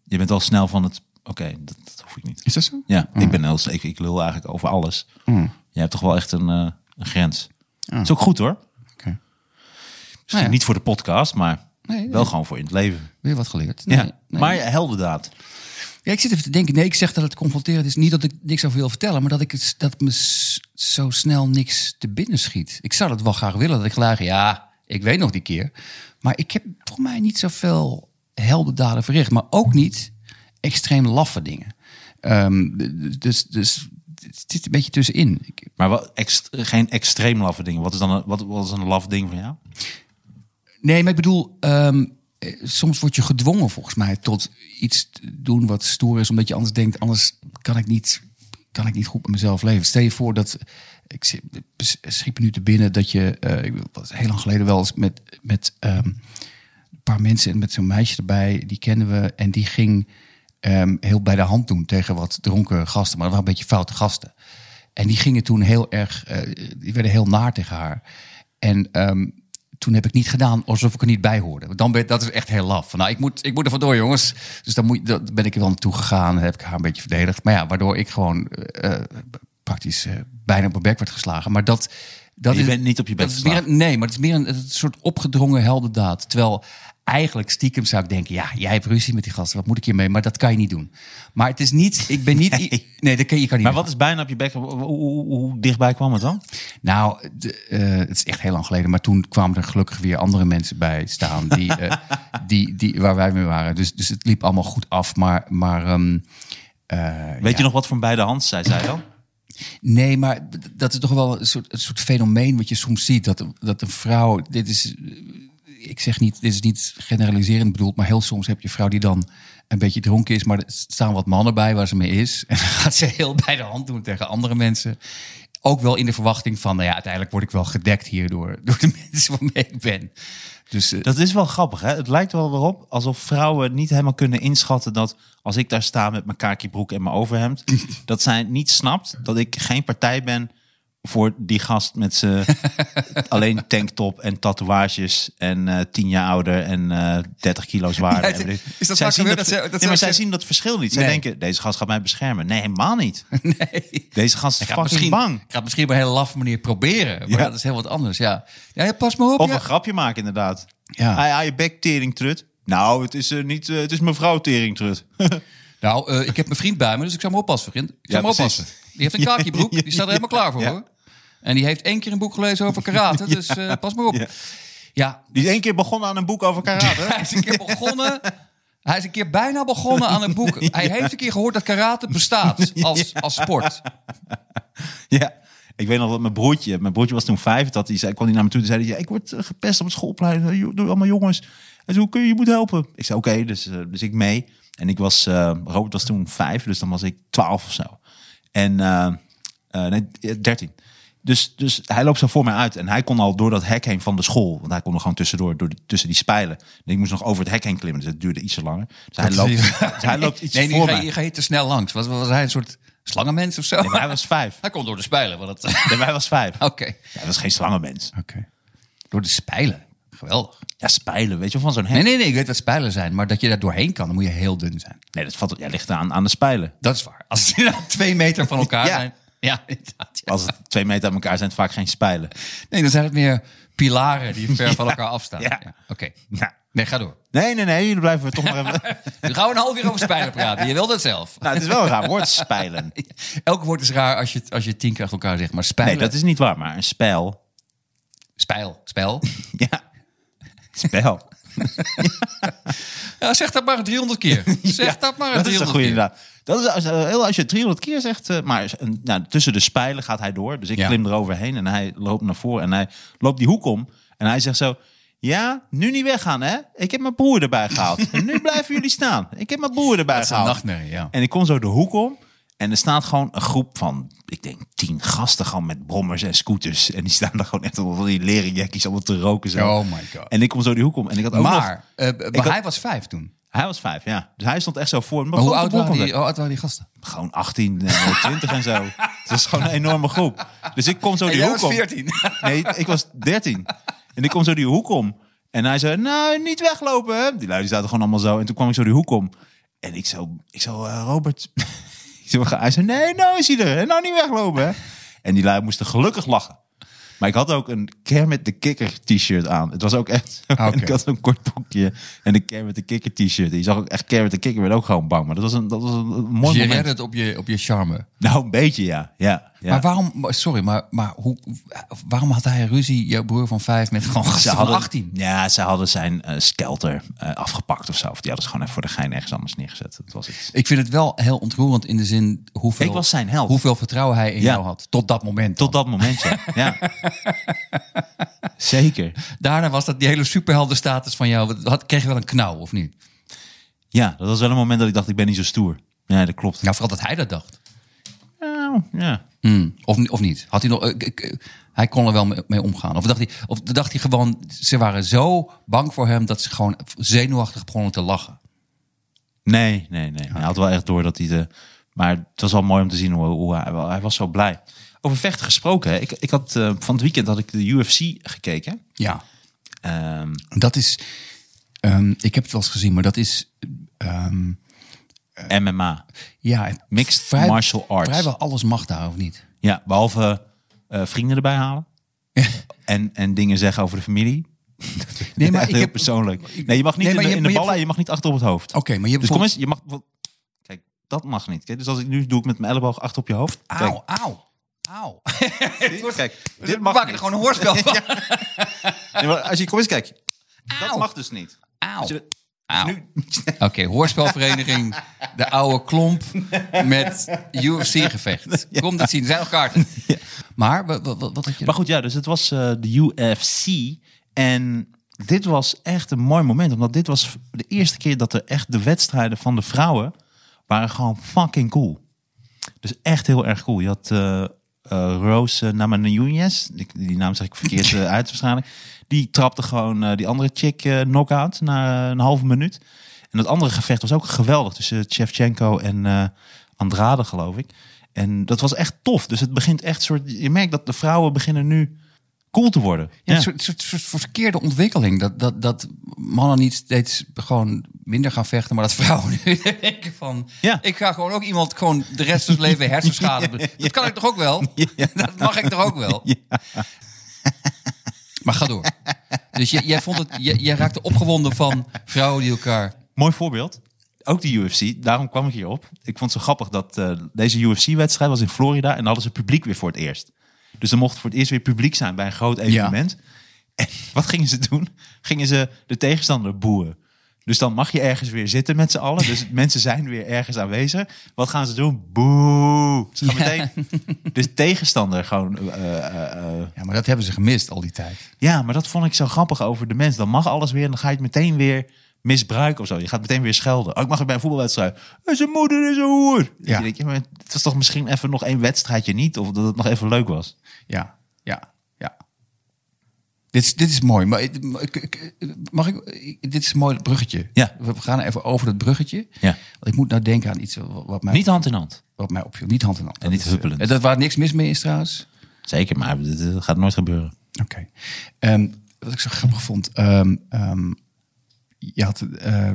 Je bent al snel van het... Oké, dat, dat hoef ik niet.
Is dat zo?
Ja, ik ben heel... Ik, ik lul eigenlijk over alles.
Mm.
Jij hebt toch wel echt een, eh, een grens. is ook goed, hoor.
Oké.
Misschien
Nou ja.
Niet voor de podcast, maar
Nee, nee.
wel gewoon voor in het leven.
Weer wat geleerd.
Ja,
Nee, nee.
maar heldendaad.
Ja, ik zit even te denken. Nee, ik zeg dat het confronterend is. Niet dat ik niks over wil vertellen, maar dat ik het, dat me s- zo snel niks te binnen schiet. Ik zou dat wel graag willen. Dat ik graag, ja, ik weet nog die keer. Maar ik heb volgens mij niet zoveel heldendaden verricht. Maar ook niet extreem laffe dingen. Ehm, d- d- dus, dus het zit een beetje tussenin. Ik,
Maar wat, ext- geen extreem laffe dingen. Wat is dan een, wat, wat is een laf ding van jou?
Nee, maar ik bedoel, ehm, eh, soms word je gedwongen volgens mij tot iets te doen wat stoer is, omdat je anders denkt, anders kan ik niet, kan ik niet goed met mezelf leven. Stel je voor dat ik zit- schiet me nu te binnen dat je, eh, ik was heel lang geleden wel eens met met ehm, een paar mensen en met zo'n meisje erbij, die kennen we. En die ging ehm, heel bij de hand doen tegen wat dronken gasten, maar dat waren een beetje foute gasten. En die gingen toen heel erg, eh, die werden heel naar tegen haar. En ehm, toen heb ik niet gedaan alsof ik er niet bij hoorde. Want Dan ben, dat is echt heel laf. Van, nou, ik moet, ik moet er vandoor, jongens. Dus dan, moet, dan ben ik er wel naartoe gegaan en heb ik haar een beetje verdedigd. Maar ja, waardoor ik gewoon eh, eh, praktisch eh, bijna op mijn bek werd geslagen. Maar dat, dat
Je
is,
bent niet op je bek
dat is meer
geslagen.
een- Nee, maar het is meer een, een soort opgedrongen heldendaad. Terwijl eigenlijk stiekem zou ik denken... ja, jij hebt ruzie met die gasten, wat moet ik hiermee? Maar dat kan je niet doen. Maar het is niet... Ik ben niet... Nee, dat kan, je kan niet
Maar wat is bijna op je bek? Hoe, hoe- hoe dichtbij kwam het dan?
Nou, de, eh, het is echt heel lang geleden. Maar toen kwamen er gelukkig weer andere mensen bij staan. Die, eh, die, die, waar wij mee waren. Dus, dus het liep allemaal goed af. Maar, maar ehm,
Weet je nog wat van bij de hand zij zei dan?
Nee, maar d- dat is toch wel een soort, een soort fenomeen wat je soms ziet. Dat, een- dat een vrouw, dit is, eh, ik zeg niet, dit is niet generaliserend bedoeld, maar heel soms heb je een vrouw die dan een beetje dronken is, maar er staan wat mannen bij waar ze mee is. En dan gaat ze heel bij de hand doen tegen andere mensen. Ook wel in de verwachting van, nou ja, uiteindelijk word ik wel gedekt hierdoor, door de mensen waarmee ik ben. Dus eh,
Dat is wel grappig, hè? Het lijkt wel erop alsof vrouwen niet helemaal kunnen inschatten dat als ik daar sta met mijn kakiebroek en mijn overhemd, dat zij niet snapt dat ik geen partij ben voor die gast met zijn alleen tanktop en tatoeages en eh, tien jaar ouder en eh 30 kilo zwaarder.
Ja,
en weet ik.
is dat
Zij
vaak
zien
gebeurd
dat,
dat ze- dat
nee,
ze-
maar zij zien dat verschil niet. Zij
Nee.
denken, deze gast gaat mij beschermen. Nee, helemaal niet.
nee.
Deze gast is
Ik ga het
fucking
misschien,
bang.
Ik ga het misschien op een hele laffe manier proberen. Maar
Ja.
ja. dat is heel wat anders. Ja, ja, ja, pas maar op.
Of
ja.
een grapje maken, inderdaad.
Ja.
Ai, ai, je bek, teringtrut. Nou, het is, eh, niet, eh, het is mevrouw teringtrut.
Nou, eh, ik heb mijn vriend bij me, dus ik zou me oppassen, vriend. Ik zou
Ja,
me
precies.
oppassen. Die heeft een kakiebroek, die staat er helemaal klaar voor,
ja.
hoor. En die heeft één keer een boek gelezen over karate, dus eh, pas maar op.
Ja.
Ja,
Die is één keer begonnen aan een boek over
hij
karate.
is een keer begonnen... Hij is een keer bijna begonnen aan een boek. Hij heeft een keer gehoord dat karate bestaat als, als sport.
ja. Ik weet nog dat mijn broertje, mijn broertje was toen vijf, dat hij zei, kwam hij naar me toe en zei, hij, ja, ik word eh, gepest op schoolplein, door allemaal jongens. Hij zei, hoe kun je, je moet helpen. Ik zei, oké, dus, eh, dus ik mee. En ik was, eh, Robert was toen vijf, dus dan was ik twaalf of zo. En, eh eh, nee, dertien. Dus, dus hij loopt zo voor mij uit en hij kon al door dat hek heen van de school. Want hij kon er gewoon tussendoor, door die- tussen die spijlen. En ik moest nog over het hek heen klimmen, dus dat duurde iets te langer. Dus hij loopt, dus hij loopt iets
nee, nu
voor
ga,
mij.
je- je ga je te snel langs. Was, was hij een soort slangenmens of zo?
Nee, maar hij was vijf.
Hij kon door de spijlen. want dat-
Nee, maar hij was vijf.
Oké.
Hij was geen slangenmens.
Oké. Door de spijlen. Geweldig.
Ja, spijlen, weet je wel, van zo'n hek.
Nee,
Nee,
nee, nee. Ik weet wat spijlen zijn. Maar dat je daar doorheen kan, dan moet je heel dun zijn.
dat valt, ja, ligt aan, aan de spijlen.
Dat is waar. Als ze nou twee meter van elkaar
Ja.
zijn. Ja, inderdaad. ja.
Als het twee meter aan elkaar zijn, het vaak geen spijlen.
Nee, dan zijn het meer pilaren die ver van elkaar afstaan.
Ja.
Ja. Oké.
Ja.
Nee, ga door.
Nee, nee, nee, jullie blijven we toch maar even...
Nu gaan we een half uur over spijlen praten. Je wil dat zelf.
nou, het is wel een raar woord, spijlen.
Elk woord is raar als je, als je tien keer achter elkaar zegt. Maar spijlen,
Nee, dat is niet waar, maar een spijl...
spijl, spel.
Ja, spel.
Ja, Ja, zeg dat maar 300 keer. Zeg
Ja,
dat maar
dat is een
300
goede
keer.
inderdaad. Dat is als, eh, heel- als je 300 keer zegt, eh, maar eh, nou, tussen de spijlen gaat hij door. Dus ik
Ja.
klim eroverheen en hij loopt naar voren en hij loopt die hoek om. En hij zegt zo, ja, nu niet weggaan hè. Ik heb mijn broer erbij gehaald. En nu blijven jullie staan. Ik heb mijn broer erbij
Dat is een
gehaald.
nachtmerrie, ja.
En ik kom zo de hoek om. En er staat gewoon een groep van, ik denk, tien gasten gewoon met brommers en scooters. En die staan daar gewoon echt op van die leren jackies allemaal te roken. Zo.
Oh my God.
En ik kom zo die hoek om. En ik had ook nog-
Maar, eh, maar
had-
hij was vijf toen.
hij was vijf, ja. Dus hij stond echt zo voor. me.
Maar hoe
Grote
oud, waren
brokken.
die, hoe oud waren die gasten?
Gewoon 18, en 20 en zo. Het was gewoon een enorme groep. Dus ik kom zo die hoek om. Nee, ik was 13. En ik kom zo die hoek om. En hij zei, nou, niet weglopen. Hè? Die lui die zaten gewoon allemaal zo. En toen kwam ik zo die hoek om. En ik zo, ik zo eh, Robert. ik zo, hij zei, nee, nou is hij er. En nou niet weglopen. Hè? En die lui moesten gelukkig lachen. Maar ik had ook een Kermit de Kikker t-shirt aan. Het was ook echt...
Ah,
en ik had zo'n kort broekje en een Kermit de Kikker t-shirt. En je zag ook echt Kermit de Kikker werd ook gewoon bang. Maar dat was een, dat was een mooi
Dus Je
moment.
redde het op je, op je charme.
Nou, een beetje, ja. ja, ja.
Maar waarom, maar sorry, maar, maar hoe, waarom had hij ruzie, jouw broer van vijf, met gewoon gasten van 18?
Ja, ze hadden zijn eh, skelter eh, afgepakt of zo. Of die hadden ze gewoon even voor de gein ergens anders neergezet. Dat was iets.
Ik vind het wel heel ontroerend in de zin hoeveel,
Ik was zijn held.
hoeveel vertrouwen hij in
Ja.
jou had. Tot dat moment.
Tot dat moment, ja. ja. Zeker.
Daarna was dat die hele superheldenstatus van jou. wat- Had, kreeg je wel een knauw, of niet?
Ja, dat was wel een moment dat ik dacht, ik ben niet zo stoer. Ja, dat klopt.
Nou, vooral dat hij dat dacht.
Nou, ja.
Hmm, Of, of niet? Had hij, nog, eh, k- k- hij kon er wel mee, mee omgaan. Of dacht, hij, of dacht hij gewoon, ze waren zo bang voor hem dat ze gewoon zenuwachtig begonnen te lachen.
Nee, nee, nee. Hij had wel echt door dat hij de... Maar het was wel mooi om te zien hoe, hoe hij, wel- hij was zo blij. Over vechten gesproken. hè. Ik, ik had, eh, van het weekend had ik de UFC gekeken.
Ja.
Ehm,
Dat is, ehm, ik heb het wel eens gezien, maar dat is ehm,
MMA.
Ja,
Mixed martial arts.
Vrijwel alles mag daar, of niet?
Ja, behalve eh, vrienden erbij halen. en, en dingen zeggen over de familie.
Nee, maar
Echt
ik
heel
heb-
persoonlijk. Nee, je mag niet
Nee,
in
maar
de, in
je-
de
maar je
ballen en je mag niet achter op het hoofd.
Oké, maar je hebt
dus kom
bijvoorbeeld-
eens, je mag... wat- Kijk, dat mag niet. Kijk, dus als ik nu doe ik met mijn elleboog achter op je hoofd. Kijk,
Auw, auw, auw.
zie je? kijk dit
We
mag
maken
niet.
er gewoon een hoorspel van.
Nee, maar als je, kom eens kijken. Dat
Auw.
mag dus niet.
Auw.
Als je-
Auw.
nu-
Oké, hoorspelvereniging, de oude klomp met UFC-gevecht. Kom dat zien, er zijn nog kaarten. Maar wa- wa- wa- wat had je...
Maar goed, ja, dus het was eh, de UFC. En dit was echt een mooi moment. Omdat dit was de eerste keer dat er echt de wedstrijden van de vrouwen... waren gewoon fucking cool. Dus echt heel erg cool. Je had eh eh Rose uh, Die, die naam zeg ik verkeerd eh, uit waarschijnlijk. Die trapte gewoon eh, die andere chick eh knock-out na eh, een halve minuut. En dat andere gevecht was ook geweldig. Tussen Shevchenko en eh, Andrade, geloof ik. En dat was echt tof. Dus het begint echt soort... Je merkt dat de vrouwen beginnen nu cool te worden.
Ja, Een soort, soort, soort verkeerde ontwikkeling. Dat, dat, dat mannen niet steeds gewoon minder gaan vechten, maar dat vrouwen nu denken van...
Ja.
Ik ga gewoon ook iemand gewoon de rest van zijn leven hersenschade... Dat kan ik toch ook wel? Dat mag ik toch ook wel? Maar ga door. Dus jij, jij, vond het, jij, jij raakte opgewonden van vrouwen die elkaar...
Mooi voorbeeld. Ook de UFC, daarom kwam ik hierop. Ik vond het zo grappig dat eh, deze UFC-wedstrijd was in Florida en dan hadden ze publiek weer voor het eerst. Dus er mocht voor het eerst weer publiek zijn bij een groot evenement. En wat gingen ze doen? Gingen ze de tegenstander boeien. Dus dan mag je ergens weer zitten met z'n allen. Dus mensen zijn weer ergens aanwezig. Wat gaan ze doen? Boe! Ze gaan meteen de tegenstander gewoon eh, eh, eh,
Ja, maar dat hebben ze gemist al die tijd.
ja, maar dat vond ik zo grappig over de mens. Dan mag alles weer en dan ga je het meteen weer misbruiken of zo. Je gaat meteen weer schelden. Oh, ik mag het bij een voetbalwedstrijd. En zijn moeder is een hoer. Ja. Je denkt, ja, maar het was toch misschien even nog één wedstrijdje niet? Of dat het nog even leuk was?
Ja, ja, ja. Dit is, dit is mooi, maar ik- maar ik- ik- mag ik? ik- Dit is een mooi bruggetje.
Ja.
We we gaan even over dat bruggetje.
Ja.
Want ik moet nou denken aan iets wat wat mij,
Niet hand in hand.
wat mij opviel. Niet hand in hand.
En niet
Dat is,
huppelend.
eh, Dat waar niks mis mee is trouwens.
Zeker, maar dat dat gaat nooit gebeuren.
Oké. Ehm, wat ik zo grappig vond. ehm, ehm, je had eh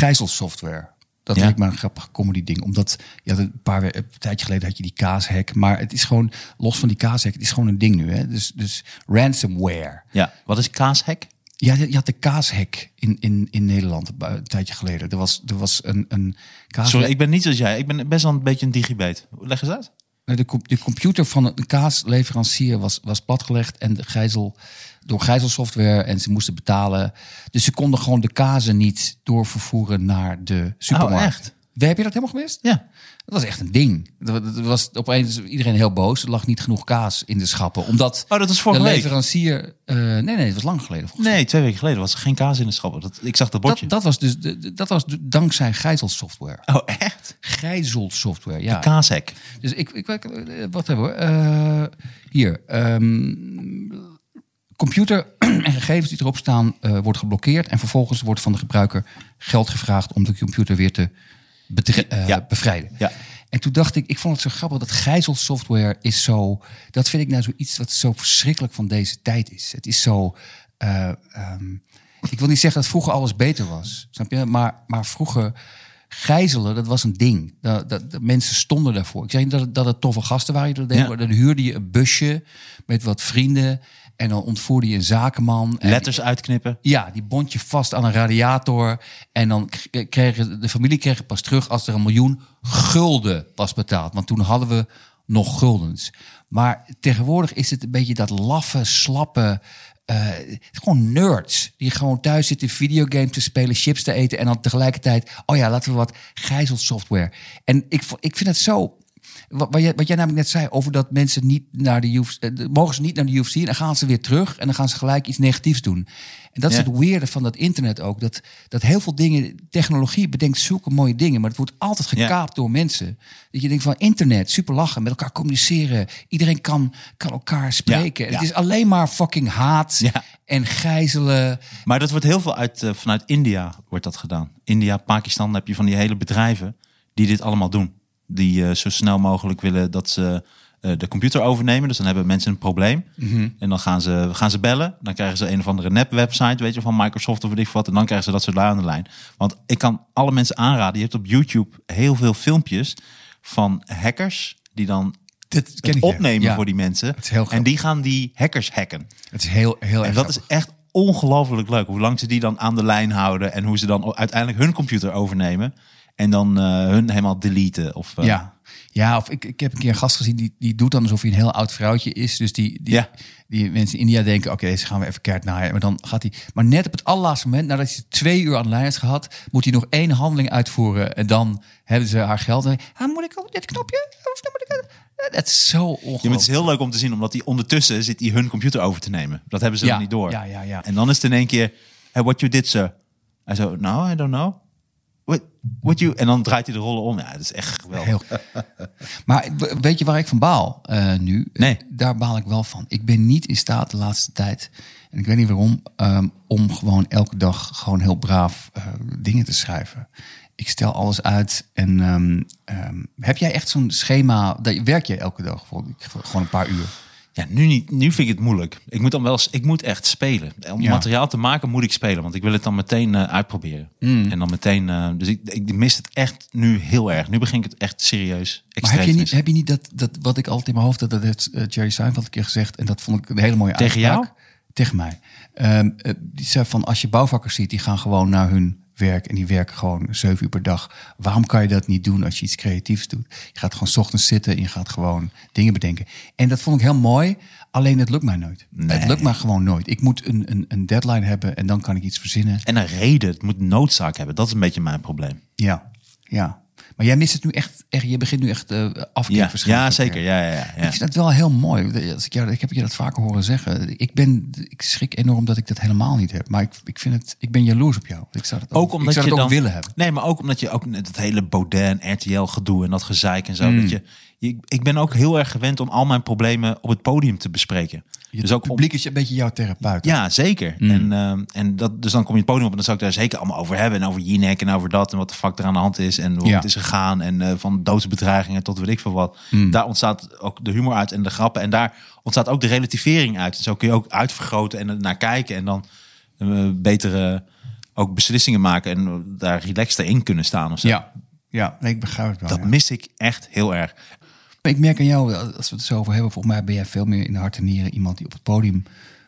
gijzelsoftware. Dat
Ja.
leek me een grappig comedy ding. Omdat je had een paar we- een tijdje geleden had je die kaashek. Maar het is gewoon, los van die kaashek, het is gewoon een ding nu. Hè? Dus, dus ransomware.
Ja, wat is kaashek?
Ja, je had de kaashek in, in, in Nederland een paar- een tijdje geleden. Er was, er was een, een kaas.
Sorry, ik ben niet zoals jij. Ik ben best wel een beetje een digibate. Leg eens uit.
Nou, De, com- de computer van een kaasleverancier was, was platgelegd en de gijzel, door gijzelsoftware en ze moesten betalen. Dus ze konden gewoon de kazen niet doorvervoeren naar de supermarkt.
Oh, echt?
Waar heb je dat helemaal gemist?
Ja.
Dat was echt een ding. Dat dat was opeens iedereen heel boos. Er lag niet genoeg kaas in de schappen. Omdat
Oh, dat was vorige
de
week.
leverancier... eh, nee, nee, het was lang geleden volgens
Nee, twee weken geleden was er geen kaas in de schappen. Dat, ik zag dat
mij.
bordje.
Dat, dat was dus de- de- dat was de- dankzij gijzelsoftware.
oh, echt?
Gijzelsoftware, ja.
Kaashek.
Dus ik, ik, ik eh, wat hebben we? Eh, hier. ehm, computer en gegevens die erop staan eh wordt geblokkeerd. En vervolgens wordt van de gebruiker geld gevraagd om de computer weer te bedre- eh,
Ja.
bevrijden.
Ja.
En toen dacht ik, ik vond het zo grappig dat gijzelsoftware is zo. Dat vind ik nou zoiets wat zo verschrikkelijk van deze tijd is. Het is zo. eh, ehm, ik wil niet zeggen dat vroeger alles beter was, snap je? Maar, maar vroeger gijzelen, dat was een ding. Dat, dat, dat mensen stonden daarvoor. Ik zeg niet dat het, dat het toffe gasten waren die dat deden,
Ja.
maar dan huurde je een busje met wat vrienden en dan ontvoerde je een zakenman. En
Letters uitknippen.
ja, die bond je vast aan een radiator. En dan k- kregen de familie kreeg het pas terug als er een miljoen gulden was betaald. Want toen hadden we nog guldens. Maar tegenwoordig is het een beetje dat laffe, slappe. eh, het is gewoon nerds die gewoon thuis zitten videogames te spelen, chips te eten en dan tegelijkertijd, oh ja, laten we wat gijzelsoftware. En ik, vo- ik vind het zo wat, wat, jij, wat jij namelijk net zei over dat mensen niet naar de UFC... eh, de- mogen ze niet naar de UFC en dan gaan ze weer terug... en dan gaan ze gelijk iets negatiefs doen. En dat is
Ja.
het weerde van dat internet ook. Dat, dat heel veel dingen, technologie bedenkt zulke mooie dingen... maar het wordt altijd
Ja.
gekaapt door mensen. Dat je denkt van internet, super lachen, met elkaar communiceren. Iedereen kan, kan elkaar spreken.
Ja,
Het
ja.
is alleen maar fucking haat
Ja.
en gijzelen.
Maar dat wordt heel veel uit, eh, vanuit India wordt dat gedaan. India, Pakistan, heb je van die hele bedrijven die dit allemaal doen. Die eh, zo snel mogelijk willen dat ze eh, de computer overnemen. Dus dan hebben mensen een probleem.
Mhm.
En dan gaan ze, gaan ze bellen. Dan krijgen ze een of andere nep-website, weet je, van Microsoft of weet ik wat. En dan krijgen ze dat soort lui aan de lijn. Want ik kan alle mensen aanraden. Je hebt op YouTube heel veel filmpjes van hackers die dan
Dit ken
het
ik
opnemen
Ja.
voor die mensen.
is heel grappig.
en die gaan die hackers hacken.
Het is heel, heel
En
erg
dat is echt ongelooflijk leuk. Hoe lang ze die dan aan de lijn houden. En hoe ze dan uiteindelijk hun computer overnemen. En dan eh, hun helemaal deleten. Of, eh,
Ja.
Ja, of ik, ik heb een keer een gast gezien die, die doet dan alsof hij een heel oud vrouwtje is. Dus die, die,
Ja.
die mensen in India denken, oké, deze gaan we even keihard naaien. Maar dan gaat hij... Maar net op het allerlaatste moment, nadat hij twee uur aan de lijn heeft gehad... moet hij nog één handeling uitvoeren. En dan hebben ze haar geld. En, ah, moet ik op dit knopje? Of dan moet ik... dat- Dat is zo ongelooflijk.
Ja, maar het is heel leuk om te zien. Omdat die ondertussen zit die hun computer over te nemen. Dat hebben ze
Ja,
nog niet door.
ja, ja, ja.
En dan is het in één keer. Hey, what you did, sir? Hij zo, no, I don't know. What, what you... En dan draait hij de rollen om. Ja, dat is echt geweldig.
Heel-
Maar we- weet je waar ik van baal eh, nu?
Nee.
Daar baal ik wel van. Ik ben niet in staat de laatste tijd, en ik weet niet waarom, ehm, om gewoon elke dag gewoon heel braaf eh, dingen te schrijven. Ik stel alles uit. En ehm, ehm, heb jij echt zo'n schema? Dat, werk jij elke dag? Bijvoorbeeld, ik- Gewoon een paar uur.
Ja, nu, niet, nu vind ik het moeilijk. Ik moet dan wel eens- ik moet echt spelen. Om
Ja.
materiaal te maken moet ik spelen, want ik wil het dan meteen eh, uitproberen.
Hmm.
En dan meteen, eh, dus ik, ik mis het echt nu heel erg. Nu begin ik het echt serieus.
Maar
Extreem
heb
te
je, niet,
missen.
heb je niet dat, dat wat ik altijd in mijn hoofd had, dat heeft eh, Jerry Seinfeld een keer gezegd. En dat vond ik een hele mooie
Tegen
uitspraak.
jou?
Tegen mij. Ehm, eh, die zei van als je bouwvakkers ziet, die gaan gewoon naar hun werk. En die werken gewoon zeven uur per dag. Waarom kan je dat niet doen als je iets creatiefs doet? Je gaat gewoon 's ochtends zitten en je gaat gewoon dingen bedenken. En dat vond ik heel mooi. Alleen het lukt mij nooit. Het lukt mij gewoon nooit. Ik moet een, een, een deadline hebben en dan kan ik iets verzinnen.
En een reden, het moet noodzaak hebben. Dat is een beetje mijn probleem.
Ja, ja. Maar jij mist het nu echt. echt je begint nu echt eh
Ja,
afkeerverschijnselen.
ja zeker. Ja, ja, ja, ja.
Ik vind dat wel heel mooi. Als ik, jou, ik heb je dat vaker horen zeggen. Ik, ben, ik schrik enorm dat ik dat helemaal niet heb. Maar ik, ik, vind het, ik ben jaloers op jou. Ik zou dat ook,
Ook omdat
ik zou
je
dat
dan
ook willen hebben.
Nee, maar ook omdat je ook net het hele Baudet en RTL gedoe en dat gezeik en zo.
Hmm.
Dat je, je- ik ben ook heel erg gewend om al mijn problemen op het podium te bespreken.
Je
dus ook om-
publiek is een beetje jouw therapeut.
Ja, zeker.
Mm.
En, ehm, en dat, dus dan kom je het podium op en dan zou ik daar zeker allemaal over hebben. En over Jinek en over dat en wat de fuck er aan de hand is en hoe
Ja.
het is gegaan. En eh, van doodsbedreigingen tot weet ik veel wat.
Mm.
Daar ontstaat ook de humor uit en de grappen. En daar ontstaat ook de relativering uit. Zo kun je ook uitvergroten en er naar kijken. En dan eh, betere ook beslissingen maken en daar relaxter in kunnen staan of zo.
ja. ja. Nee, ik begrijp het wel.
Dat
ja.
mis ik echt heel erg.
Maar Ik merk aan jou, als we het zo over hebben, volgens mij ben jij veel meer in de hart en nieren iemand die op het podium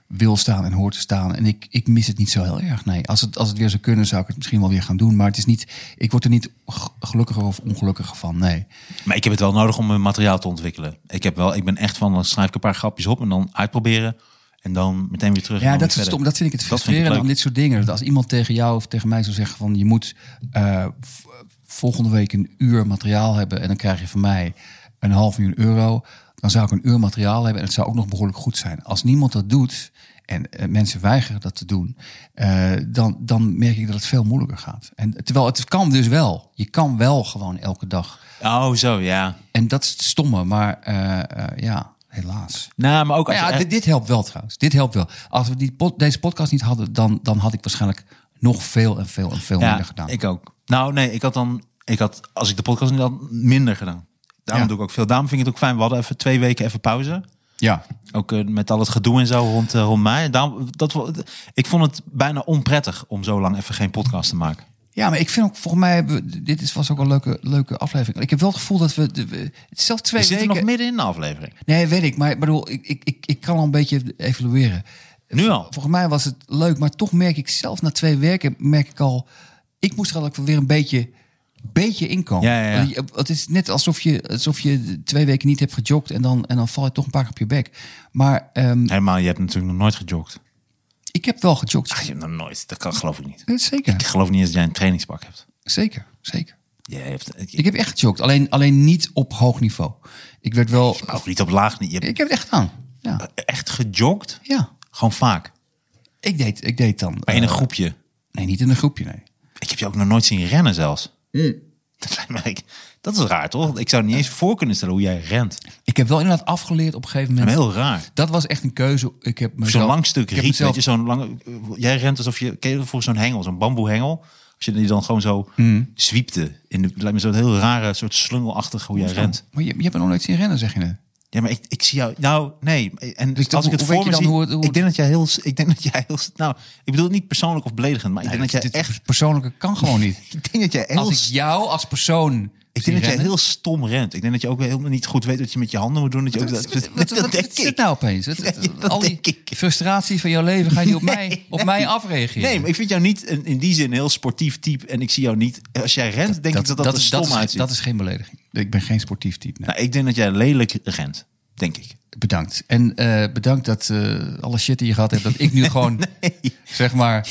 wil staan en hoort te staan. En ik, ik mis het niet zo heel erg. Nee, als het, als het weer zou kunnen, zou ik het misschien wel weer gaan doen. Maar het is niet, ik word er niet g- gelukkiger of ongelukkiger van. Nee.
Maar ik heb het wel nodig om mijn materiaal te ontwikkelen. Ik, heb wel, ik ben echt van, dan schrijf ik een paar grapjes op en dan uitproberen. En dan meteen weer terug. en
Ja,
dan
dat is
weer verder.
het stom. Dat vind ik het
Dat vind ik
frustrerend aan
leuk.
dit soort dingen. Dat als iemand tegen jou of tegen mij zou zeggen van... je moet eh, v- volgende week een uur materiaal hebben... en dan krijg je van mij een half miljoen euro... dan zou ik een uur materiaal hebben en het zou ook nog behoorlijk goed zijn. Als niemand dat doet en eh, mensen weigeren dat te doen... eh, dan, dan merk ik dat het veel moeilijker gaat. En, terwijl het kan dus wel. Je kan wel gewoon elke dag.
Oh, zo, ja.
En dat is het stomme, maar eh, eh, ja, helaas.
Nou, maar ook als
Nou ja,
je echt-
dit, dit helpt wel trouwens. Dit helpt wel. Als we die pod- deze podcast niet hadden, dan, dan had ik waarschijnlijk nog veel en veel en veel minder gedaan.
Ik ook. Nou, nee, ik had dan, ik had, als ik de podcast niet had, minder gedaan. Daarom
Ja.
doe ik ook veel. Daarom vind ik het ook fijn. We hadden even twee weken even pauze.
ja.
Ook eh, met al het gedoe en zo rond, eh, rond mij. Daarom, dat, wel- ik vond het bijna onprettig om zo lang even geen podcast te maken.
ja, maar ik vind ook, volgens mij, hebben we- dit is, was ook wel een leuke, leuke aflevering. Ik heb wel het gevoel dat we, de- we- het is zelfs twee
We zitten
weken...
nog midden in de aflevering.
Nee, weet ik, maar ik bedoel, ik, ik, ik, ik kan al een beetje evalueren.
Nu al.
Volgens mij was het leuk, maar toch merk ik zelf na twee weken, merk ik al, ik moest er al ook weer een beetje, beetje inkomen.
Ja, ja, ja.
Want je- Het is net alsof je, alsof je twee weken niet hebt gejogd en dan, en dan val je toch een paar keer op je bek. Maar ehm,
Helemaal, je hebt natuurlijk nog nooit gejogd.
ik heb wel gejogd.
Ach, Ah, je hebt nog nooit. Dat kan, geloof ik niet.
Eh, Zeker,
Ik geloof niet eens dat jij een trainingspak hebt.
zeker, zeker.
Je hebt, ik,
Ik heb echt gejogd, alleen, alleen niet op hoog niveau. Ik werd wel,
of niet op laag. niet- Je hebt
ik heb het echt gedaan.
Eh.
Ja,
echt gejogd.
ja.
Gewoon vaak.
Ik, deed, ik deed dan.
Maar in een
eh,
groepje.
Nee, niet in een groepje, nee.
Ik heb je ook nog nooit zien rennen zelfs.
Hmm.
Dat, lijkt me, ik- dat is raar, toch? Ik zou niet eens voor kunnen stellen hoe jij rent.
Ik heb wel inderdaad afgeleerd op een gegeven moment.
Heel raar.
Dat was echt een keuze. Ik heb mezelf,
Zo'n lang stuk
ik heb
riet,
mezelf-
weet je, zo'n lange... Jij rent alsof je... Ken je dat voor zo'n hengel, zo'n bamboehengel? Als je die dan gewoon zo
Hmm.
zwiepte. In de, lijkt me zo'n heel rare, soort slungelachtig hoe jij rent.
Maar je, je hebt er nog nooit zien rennen, zeg je net.
Ja, maar ik, ik zie jou... Nou, nee. En
Dus
als ik
hoe-
het
hoe weet
voor
je
me
dan
zie...
hoe het- hoe
ik, denk dat jij heel, s- ik denk dat jij heel... s- Nou, ik bedoel het niet persoonlijk of beledigend, maar ik denk dat
dit
jij echt...
persoonlijke kan gewoon niet.
Ik denk dat jij heel...
Als ik
s-
jou als persoon
Ik denk dat
zie
jij
rennen-
heel stom rent. Ik denk dat je ook helemaal niet goed weet wat je met je handen moet doen. Dat je ook, dat,
Wat, wat, wat,
dat denk
is dit
ik.
nou opeens? Wat-
Nee, dat
al die
denk ik.
frustratie van jouw leven ga je nu op mij,
Nee,
op
nee.
mij afreageren.
Nee, maar ik vind jou niet een- in die zin een heel sportief type. En ik zie jou niet... Als jij rent, denk ik dat dat, er
is-
stom
is,
uitziet.
Dat is geen belediging. Ik ben geen sportief type. nee.
Nou, ik denk dat jij lelijk rent. Denk ik.
Bedankt. En eh, bedankt dat eh, alle shit die je gehad hebt, dat ik nu gewoon, zeg maar,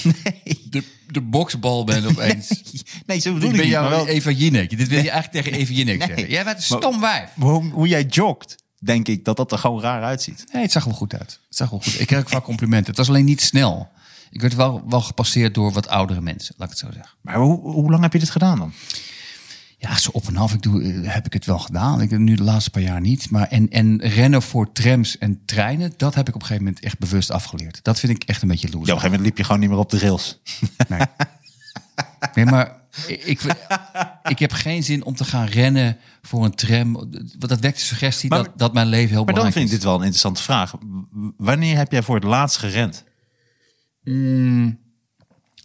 de, de boksbal ben opeens.
Nee, zo bedoel
Ik
ik
ben
niet. Maar
jou
wel,
Eva Jinek. Dit wil je eigenlijk tegen Eva Jinek zeggen. Jij bent een stom wijf.
hoe, hoe jij jogt, denk ik dat dat er gewoon raar uitziet.
Nee, het zag wel goed uit. Het zag wel goed. Ik kreeg ook vaak complimenten. Het was alleen niet snel. Ik werd wel, wel gepasseerd door wat oudere mensen, laat ik het zo zeggen.
Maar hoe, hoe lang heb je dit gedaan dan?
Ja, zo op en af ik doe, eh, heb ik het wel gedaan. Ik, nu de laatste paar jaar niet. Maar en, en rennen voor trams en treinen, dat heb ik op een gegeven moment echt bewust afgeleerd. Dat vind ik echt een beetje
Ja, op
loser.
een gegeven moment liep je gewoon niet meer op de rails.
Nee. nee, maar ik, ik heb geen zin om te gaan rennen voor een tram. Want dat wekt de suggestie
Maar-
dat, dat mijn leven heel
Maar dan
belangrijk
vind ik
is.
dit wel een interessante vraag. W- Wanneer heb jij voor het laatst gerend?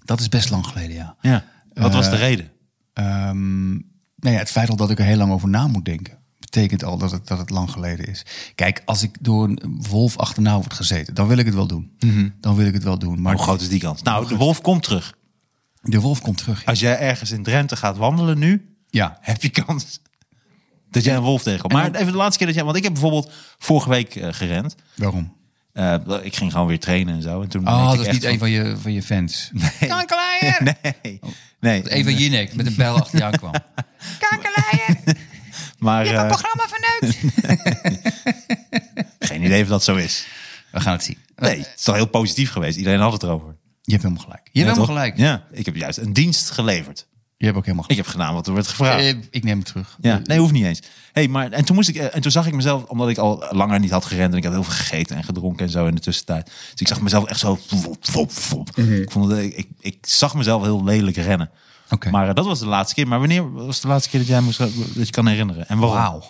Dat is best lang geleden, ja.
Ja. Eh, Wat was de reden?
Ehm, nou ja, het feit al dat ik er heel lang over na moet denken, betekent al dat het, dat het lang geleden is. Kijk, als ik door een wolf achterna word gezeten, dan wil ik het wel doen.
Mhm.
Dan wil ik het wel doen. Maar
Hoe groot is die kans? Nou, de wolf komt terug.
de wolf komt terug. Ja,
Als jij ergens in Drenthe gaat wandelen nu,
ja.
heb je kans dat jij een wolf tegenkomt. Maar even de laatste keer dat jij... Want ik heb bijvoorbeeld vorige week eh, gerend.
waarom?
Eh, ik ging gewoon weer trainen en zo. En toen merkte
Oh,
ik
dat is
echt
niet
van-
een van je, van je fans. Kankerleier!
Nee, nee.
Eva Jinek met een bijl achter je aankwam. Kankerleier!
maar eh,
programma verneukt!
geen idee of dat zo is.
We gaan het zien.
Nee, het is toch heel positief geweest. Iedereen had het erover.
Je hebt helemaal gelijk. Je hebt
toch?
helemaal gelijk.
Ja, ik heb juist een dienst geleverd.
Je hebt ook helemaal
Ik
gelijk.
heb gedaan wat er werd gevraagd.
Eh, ik neem het terug.
ja, nee, hoeft niet eens. Hey, maar, en, toen moest ik, eh, en toen zag ik mezelf, omdat ik al langer niet had gerend... en ik had heel veel gegeten en gedronken en zo in de tussentijd. Dus ik zag mezelf echt zo... vop, vop, vop.
Mhm.
Ik, vond het, eh, ik, ik, ik zag mezelf heel lelijk rennen.
Oké.
Maar eh, dat was de laatste keer. Maar wanneer was de laatste keer dat jij moest, eh, dat je kan herinneren? En waarom?
Wauw.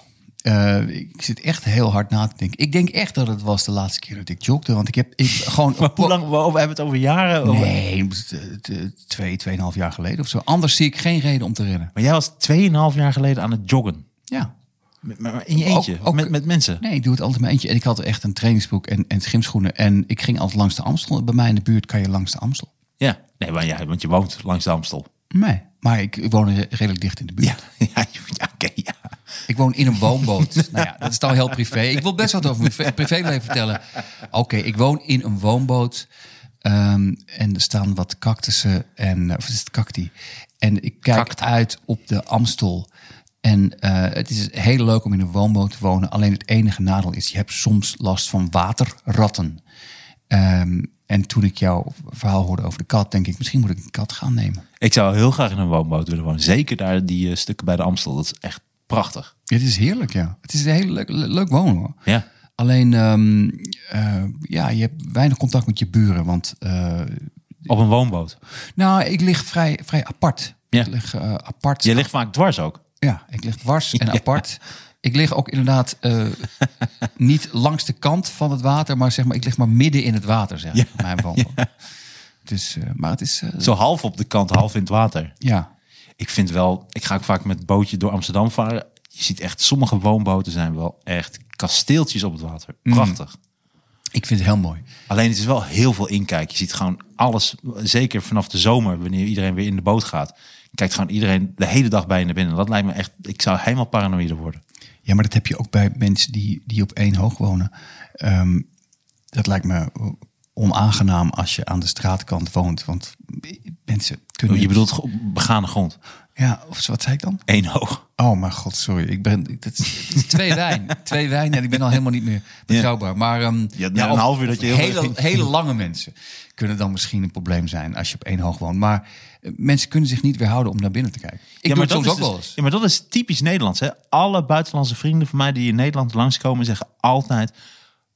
Eh, ik zit echt heel hard na te denken. Ik denk echt dat het was de laatste keer dat ik jogde. Want ik heb ik, gewoon...
Maar hoe lang? We we hebben het over jaren. over-
Oh, Nee, t- t- twee, tweeënhalf jaar geleden of zo. Anders zie ik geen reden om te rennen.
Maar jij was 2,5 jaar geleden aan het joggen.
Ja.
Met- Maar maar in je eentje?
Ook-
Of
ook-
met, met mensen?
Nee, ik doe het altijd in mijn eentje. En ik had echt een trainingsbroek en, en schimschoenen. En ik ging altijd langs de Amstel. Bij mij in de buurt kan je langs de Amstel.
Ja. Nee, maar ja, want je woont langs de Amstel.
Nee. Maar ik, ik woon re- redelijk dicht in de buurt.
Ja, ja, ja oké, ja.
Ik woon in een woonboot. nou ja, dat is dan heel privé. Ik wil best wat over mijn privé- privéleven vertellen. Oké, ik woon in een woonboot. Ehm, en er staan wat cactussen. En, eh, of is het cacti? En ik kijk uit op de Amstel. En eh, het is heel leuk om in een woonboot te wonen. Alleen het enige nadeel is, je hebt soms last van waterratten. Ehm, en toen ik jouw verhaal hoorde over de kat, denk ik, misschien moet ik een kat gaan nemen.
Ik zou heel graag in een woonboot willen wonen. Zeker daar die eh, stukken bij de Amstel. Dat is echt prachtig.
Dit is heerlijk, ja. Het is een heel leuk, leuk wonen hoor.
Ja.
Alleen, ehm, eh, ja, je hebt weinig contact met je buren. Want, eh,
Op een woonboot.
nou, ik lig vrij, vrij apart.
Ja.
Ik lig eh, apart.
Je ligt vaak dwars ook.
Ja, ik lig dwars en apart. Ik lig ook inderdaad eh, niet langs de kant van het water, maar zeg maar, ik lig maar midden in het water, zeg ik, op mijn wandel. Dus, eh, maar het is, eh,
Zo half op de kant, half in het water.
ja.
Ik vind wel, ik ga ook vaak met bootje door Amsterdam varen. Je ziet echt, sommige woonboten zijn wel echt kasteeltjes op het water. Prachtig.
Ik vind het heel mooi.
Alleen het is wel heel veel inkijk. Je ziet gewoon alles, zeker vanaf de zomer, wanneer iedereen weer in de boot gaat. Kijkt gewoon iedereen de hele dag bij je naar binnen. Dat lijkt me echt, ik zou helemaal paranoïde worden.
Ja, maar dat heb je ook bij mensen die, die op één hoog wonen. Ehm, dat lijkt me onaangenaam als je aan de straatkant woont. Want mensen kunnen...
Oh, Je bedoelt op begane grond.
Ja, of wat zei ik dan?
Één hoog.
Oh mijn god, sorry. Ik ben... ik- Dat is, dat is twee wijn. Twee wijn en ik ben al helemaal niet meer betrouwbaar. Maar ehm,
Ja, na een
of-
half uur dat
of
je heel
hele,
erg-
hele lange mensen kunnen dan misschien een probleem zijn als je op één hoog woont. Maar eh, mensen kunnen zich niet weerhouden om naar binnen te kijken. Ik doe het soms ook
is dus-
wel eens.
Ja, maar dat is typisch Nederlands. Hè? Alle buitenlandse vrienden van mij die in Nederland langskomen zeggen altijd...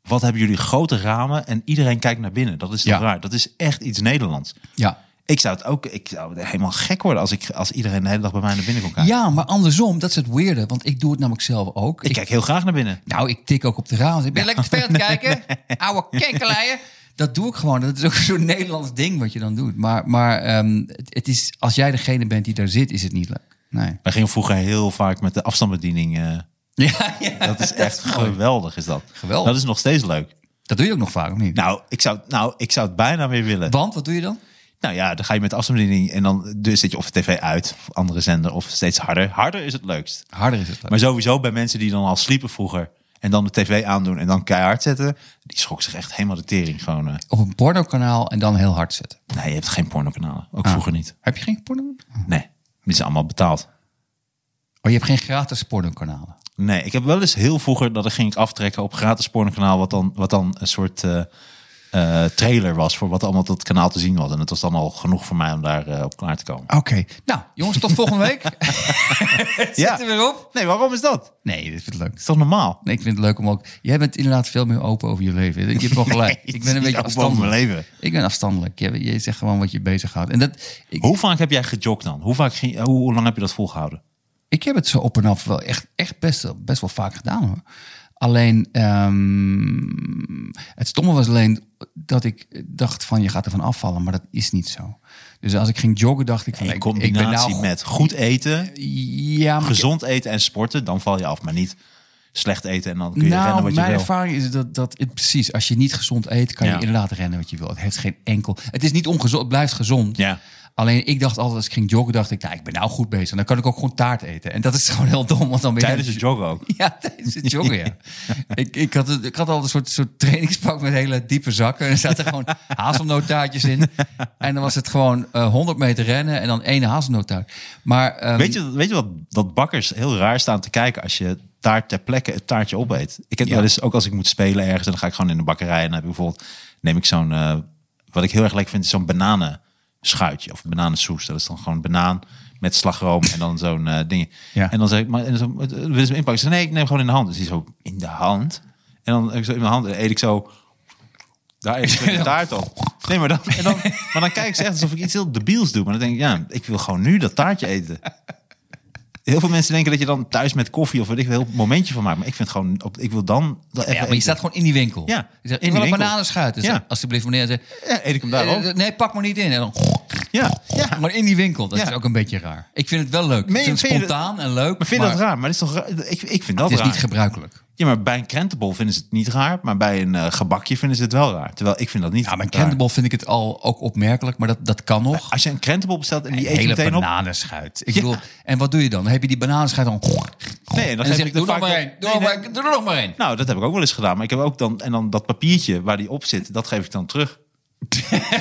Wat hebben jullie grote ramen en iedereen kijkt naar binnen. Dat is toch
Ja.
raar. Dat is echt iets Nederlands.
Ja.
Ik zou het ook, ik zou helemaal gek worden als, ik, als iedereen de hele dag bij mij naar binnen kon kijken.
ja, maar andersom, dat is het weirde. Want ik doe het namelijk zelf ook.
Ik kijk heel graag naar binnen.
Nou, ik tik ook op de raam. Ik ben lekker te ver aan het kijken. Oude kekkeleien. Dat doe ik gewoon. Dat is ook zo'n Nederlands ding wat je dan doet. Maar, maar ehm, het, het is, als jij degene bent die daar zit, is het niet leuk. Nee.
Wij gingen vroeger heel vaak met de afstandsbediening. eh,
Ja, ja.
dat is echt geweldig, is dat.
Geweldig.
Dat is nog steeds leuk.
Dat doe je ook nog vaak, of niet?
Nou, ik zou, nou, ik zou het bijna weer willen.
Want, wat doe je dan?
Nou ja, dan ga je met de afstandsbediening en dan dus zet je of de tv uit, of andere zender, of steeds harder. Harder is het leukst.
Harder is het. leuk.
Maar sowieso bij mensen die dan al sliepen vroeger en dan de tv aandoen en dan keihard zetten, die schrok zich echt helemaal de tering. Gewoon, eh,
Op een pornokanaal en dan heel hard zetten.
nee, je hebt geen pornokanalen. Ook vroeger niet.
Heb je geen porno?
Nee, dit is allemaal betaald.
Oh, je hebt geen gratis pornokanalen.
Nee, ik heb wel eens heel vroeger dat ik ging ik aftrekken op gratis pornokanaal, wat dan, wat dan een soort eh, eh, trailer was voor wat allemaal op dat kanaal te zien was. En het was dan al genoeg voor mij om daar eh, op klaar te komen.
Oké. Nou, jongens, tot volgende week. Zet
Ja.
er weer op.
Nee, waarom is dat? Dat
Nee, dit vindt het leuk.
is toch normaal?
Nee, ik vind het leuk om ook... Jij bent inderdaad veel meer open over je leven. Je hebt wel gelijk.
Nee,
ik ben een beetje
ja, boven
afstandelijk.
mijn leven.
Ik ben afstandelijk. Je, je zegt gewoon wat je bezighoudt. En dat, ik,
Hoe vaak heb jij gejogd dan? Hoe, vaak ging, hoe, hoe lang heb je dat volgehouden?
ik heb het zo op en af wel echt, echt best, wel- best wel vaak gedaan hoor. Alleen, ehm, het stomme was alleen dat ik dacht van je gaat ervan afvallen, maar dat is niet zo. Dus als ik ging joggen dacht ik van
In
ik, ik ben
combinatie
nou...
met goed eten,
Ja, maar
gezond eten en sporten, dan val je af. Maar niet slecht eten en dan kun je rennen
Nou,
wat je
mijn
wil.
ervaring is dat, dat het- precies, als je niet gezond eet, kan
Ja.
je inderdaad rennen wat je wil. Het heeft geen enkel. Het is niet ongezond, het blijft gezond.
Ja.
Alleen ik dacht altijd, als ik ging joggen, dacht ik, nou, ik ben nou goed bezig. Dan kan ik ook gewoon taart eten. En dat is gewoon heel dom, want dan ben je-
Tijdens het joggen ook.
Ja, tijdens het joggen, ja. ik, ik, had, het- ik had al een soort, soort trainingspak met hele diepe zakken. En er zaten gewoon hazelnoottaartjes in. En dan was het gewoon eh 100 meter rennen en dan één hazelnoottaart. Maar ehm,
Weet je, weet je wat dat bakkers heel raar staan te kijken als je daar ter plekke het taartje opeet? Ik heb
Ja.
wel eens, ook als ik moet spelen ergens, en dan ga ik gewoon in de bakkerij en dan heb ik bijvoorbeeld neem ik zo'n eh, wat ik heel erg lekker vind is zo'n bananenschuitje of bananensoes. Dat is dan gewoon banaan met slagroom en dan zo'n eh ding.
Ja.
En dan zeg ik, maar en zo, het- het- wil je ze inpakken? Ik zeg, nee, ik neem gewoon in de hand. Dus die zo in de hand. En dan heb ik zo in mijn hand en eet ik zo daar eet ik zo de taart op. Nee, maar dan, en dan, maar dan kijk ik ze echt alsof ik iets heel debiels doe. Maar dan denk ik, ja, ik wil gewoon nu dat taartje eten. Heel veel mensen denken dat je dan thuis met koffie of weet ik veel een momentje van maakt. Maar ik vind gewoon, op, ik wil dan. dat even
ja, maar je
eten.
staat gewoon in die winkel.
Ja,
Je
in
zegt, ik
die
wil een
winkel.
bananenschuit. Dus
Ja.
alsjeblieft, meneer. Zegt,
Ja, eet ik hem daar ook.
Eh, Nee, pak maar niet in. En dan...
Ja, ja.
eh, Maar in die winkel, dat
Ja.
is ook een beetje raar. Ik vind het wel leuk.
Meen-
ik vind het
vind je
spontaan en leuk.
Maar vind je dat raar? Maar dat is toch raar? Ik, ik vind dat
Het is
raar.
niet gebruikelijk.
ja, maar bij een krentenbol vinden ze het niet raar. Maar bij een eh, gebakje vinden ze het wel raar. Terwijl ik vind dat niet
Ja, bij
raar.
krentenbol vind ik het al ook opmerkelijk, maar dat, dat kan nog.
Als je een krentenbol bestelt en die eet je
hele
meteen op.
bananenschuit. Ik
Ja.
bedoel, en wat doe je dan? Dan heb je die bananenschuit dan...
Nee,
en
dan geef
dan zeg
ik
ik,
de
doe nog
vaak-
maar één. Doe,
Nee,
nog
nee.
maar- doe er nog maar één.
Nou, dat heb ik ook wel eens gedaan. Maar ik heb ook dan, en dan dat papiertje waar die op zit, dat geef ik dan terug.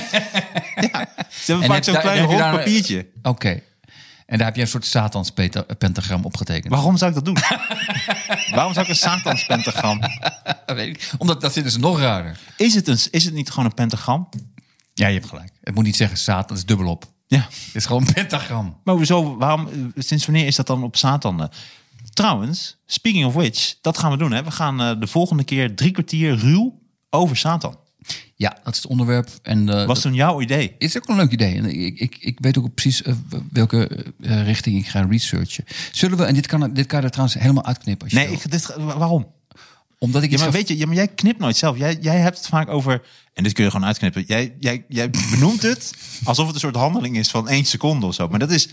ja, ze hebben vaak
heb
zo'n
daar-
klein
heb je
rond
daar-
papiertje.
Oké. En daar heb jij een soort satanspentagram opgetekend.
Waarom zou ik dat doen? Waarom zou ik een satanspentagram?
Dat weet ik niet. Omdat dat vinden ze nog raarder.
Is het, een, is het niet gewoon een pentagram?
Ja, je hebt gelijk. Het moet niet zeggen Satan, dat is dubbelop.
Ja.
Het is gewoon een pentagram.
Maar hoezo, waarom, eh, sinds wanneer is dat dan op Satan? eh? Trouwens, speaking of which, dat gaan we doen. Hè? We gaan eh, de volgende keer drie kwartier ruw over Satan.
Ja, dat is het onderwerp. En, eh,
Was toen jouw idee?
Is ook een leuk idee. En ik, ik, ik weet ook precies eh, welke eh, richting ik ga researchen. Zullen we, en dit kan, dit kan je er trouwens helemaal uitknippen. Als je
Nee,
wil.
ik, dit, ga- wa- waarom?
omdat ik
Ja,
iets
maar
ga-
weet je, ja, maar jij knipt nooit zelf. Jij, jij hebt het vaak over, en dit kun je gewoon uitknippen. Jij, jij, jij benoemt het alsof het een soort handeling is van één seconde of zo. Maar dat is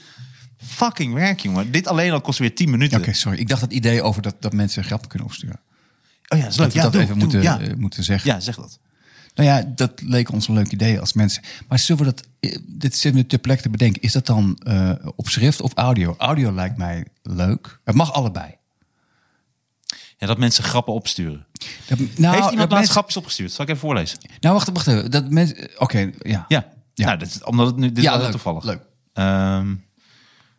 fucking werk, jongen. Dit alleen al kost weer tien minuten.
Oké, sorry. Ik dacht dat idee over dat, dat mensen grappen kunnen opsturen.
Oh ja, dat is leuk.
Dat we
Ja,
dat
doe,
even
doe,
moeten,
ja.
eh, moeten zeggen.
ja, zeg dat.
Nou ja, dat leek ons een leuk idee als mensen. Maar zullen we dat, eh, dit zit nu ter plekke te bedenken. Is dat dan eh, op schrift of audio? Audio lijkt mij leuk. Het mag allebei.
Ja, dat mensen grappen opsturen.
Dat, nou,
Heeft
dat
iemand laatst
mensen-
grapjes opgestuurd? Zal ik even voorlezen?
Nou, wacht, wacht even. Dat mensen, oké, ja.
Ja, ja. Nou, dat is, omdat het nu dit is
Ja,
wel heel
leuk,
toevallig.
leuk.
Ehm,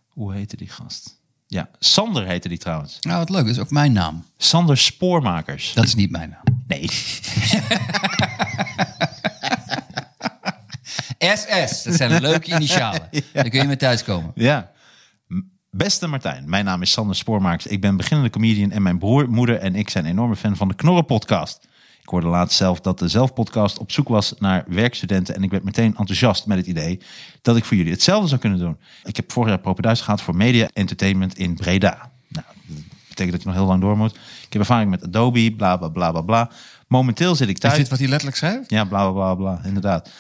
hoe heette die gast? Ja, Sander heette die trouwens.
Nou, wat leuk. Dat is ook mijn naam.
Sander Spoormakers.
Dat is niet mijn naam.
Nee.
SS, dat zijn leuke initialen. Dan kun je mee thuiskomen.
Ja. M- Beste Martijn, mijn naam is Sander Spoormaaks. Ik ben beginnende comedian en mijn broer, moeder en ik zijn enorme fan van de Knorren podcast. Ik hoorde laatst zelf dat de Zelfpodcast op zoek was naar werkstudenten en ik werd meteen enthousiast met het idee dat ik voor jullie hetzelfde zou kunnen doen. Ik heb vorig jaar Propenduis gehad voor Media Entertainment in Breda. Nou, dat betekent dat je nog heel lang door moet. Ik heb ervaring met Adobe, bla bla bla bla bla. Momenteel zit ik thuis...
Is dit wat hij letterlijk schrijft?
Ja, bla bla bla bla, inderdaad.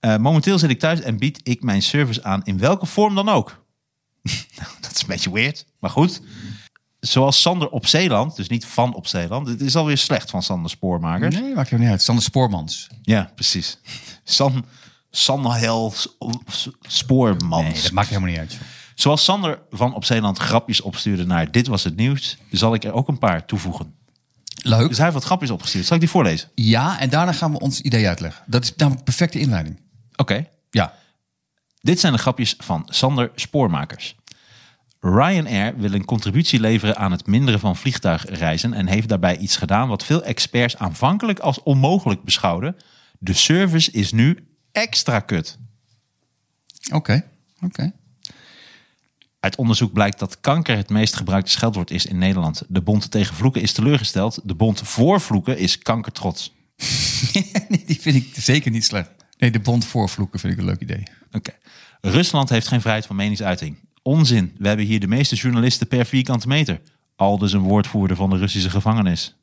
Eh, momenteel zit ik thuis en bied ik mijn service aan in welke vorm dan ook. nou, dat is een beetje weird, maar goed. Zoals Sander op Zeeland, dus niet van op Zeeland. Dit is alweer slecht van Sander Spoormaker.
Nee, maakt jou niet uit. Sander Spoormans.
Ja, precies. San, Sanhel S- S- Spoormans.
Nee, dat maakt helemaal niet uit. joh.
Zoals Sander van op Zeeland grapjes opstuurde naar Dit Was Het Nieuws, zal ik er ook een paar toevoegen.
Leuk.
Dus hij heeft wat grapjes opgestuurd. Zal ik die voorlezen?
Ja, en daarna gaan we ons idee uitleggen. Dat is namelijk perfecte inleiding.
Oké.
Ja.
Dit zijn de grapjes van Sander Spoormakers. Ryanair wil een contributie leveren aan het minderen van vliegtuigreizen en heeft daarbij iets gedaan wat veel experts aanvankelijk als onmogelijk beschouwden. De service is nu extra kut.
Oké. Oké.
Uit onderzoek blijkt dat kanker het meest gebruikte scheldwoord is in Nederland. De bond tegen vloeken is teleurgesteld. De bond voor vloeken is kankertrots.
Nee, die vind ik zeker niet slecht. Nee, de bond voor vloeken vind ik een leuk idee.
Oké. Rusland heeft geen vrijheid van meningsuiting. Onzin. We hebben hier de meeste journalisten per vierkante meter. Al dus een woordvoerder van de Russische gevangenis.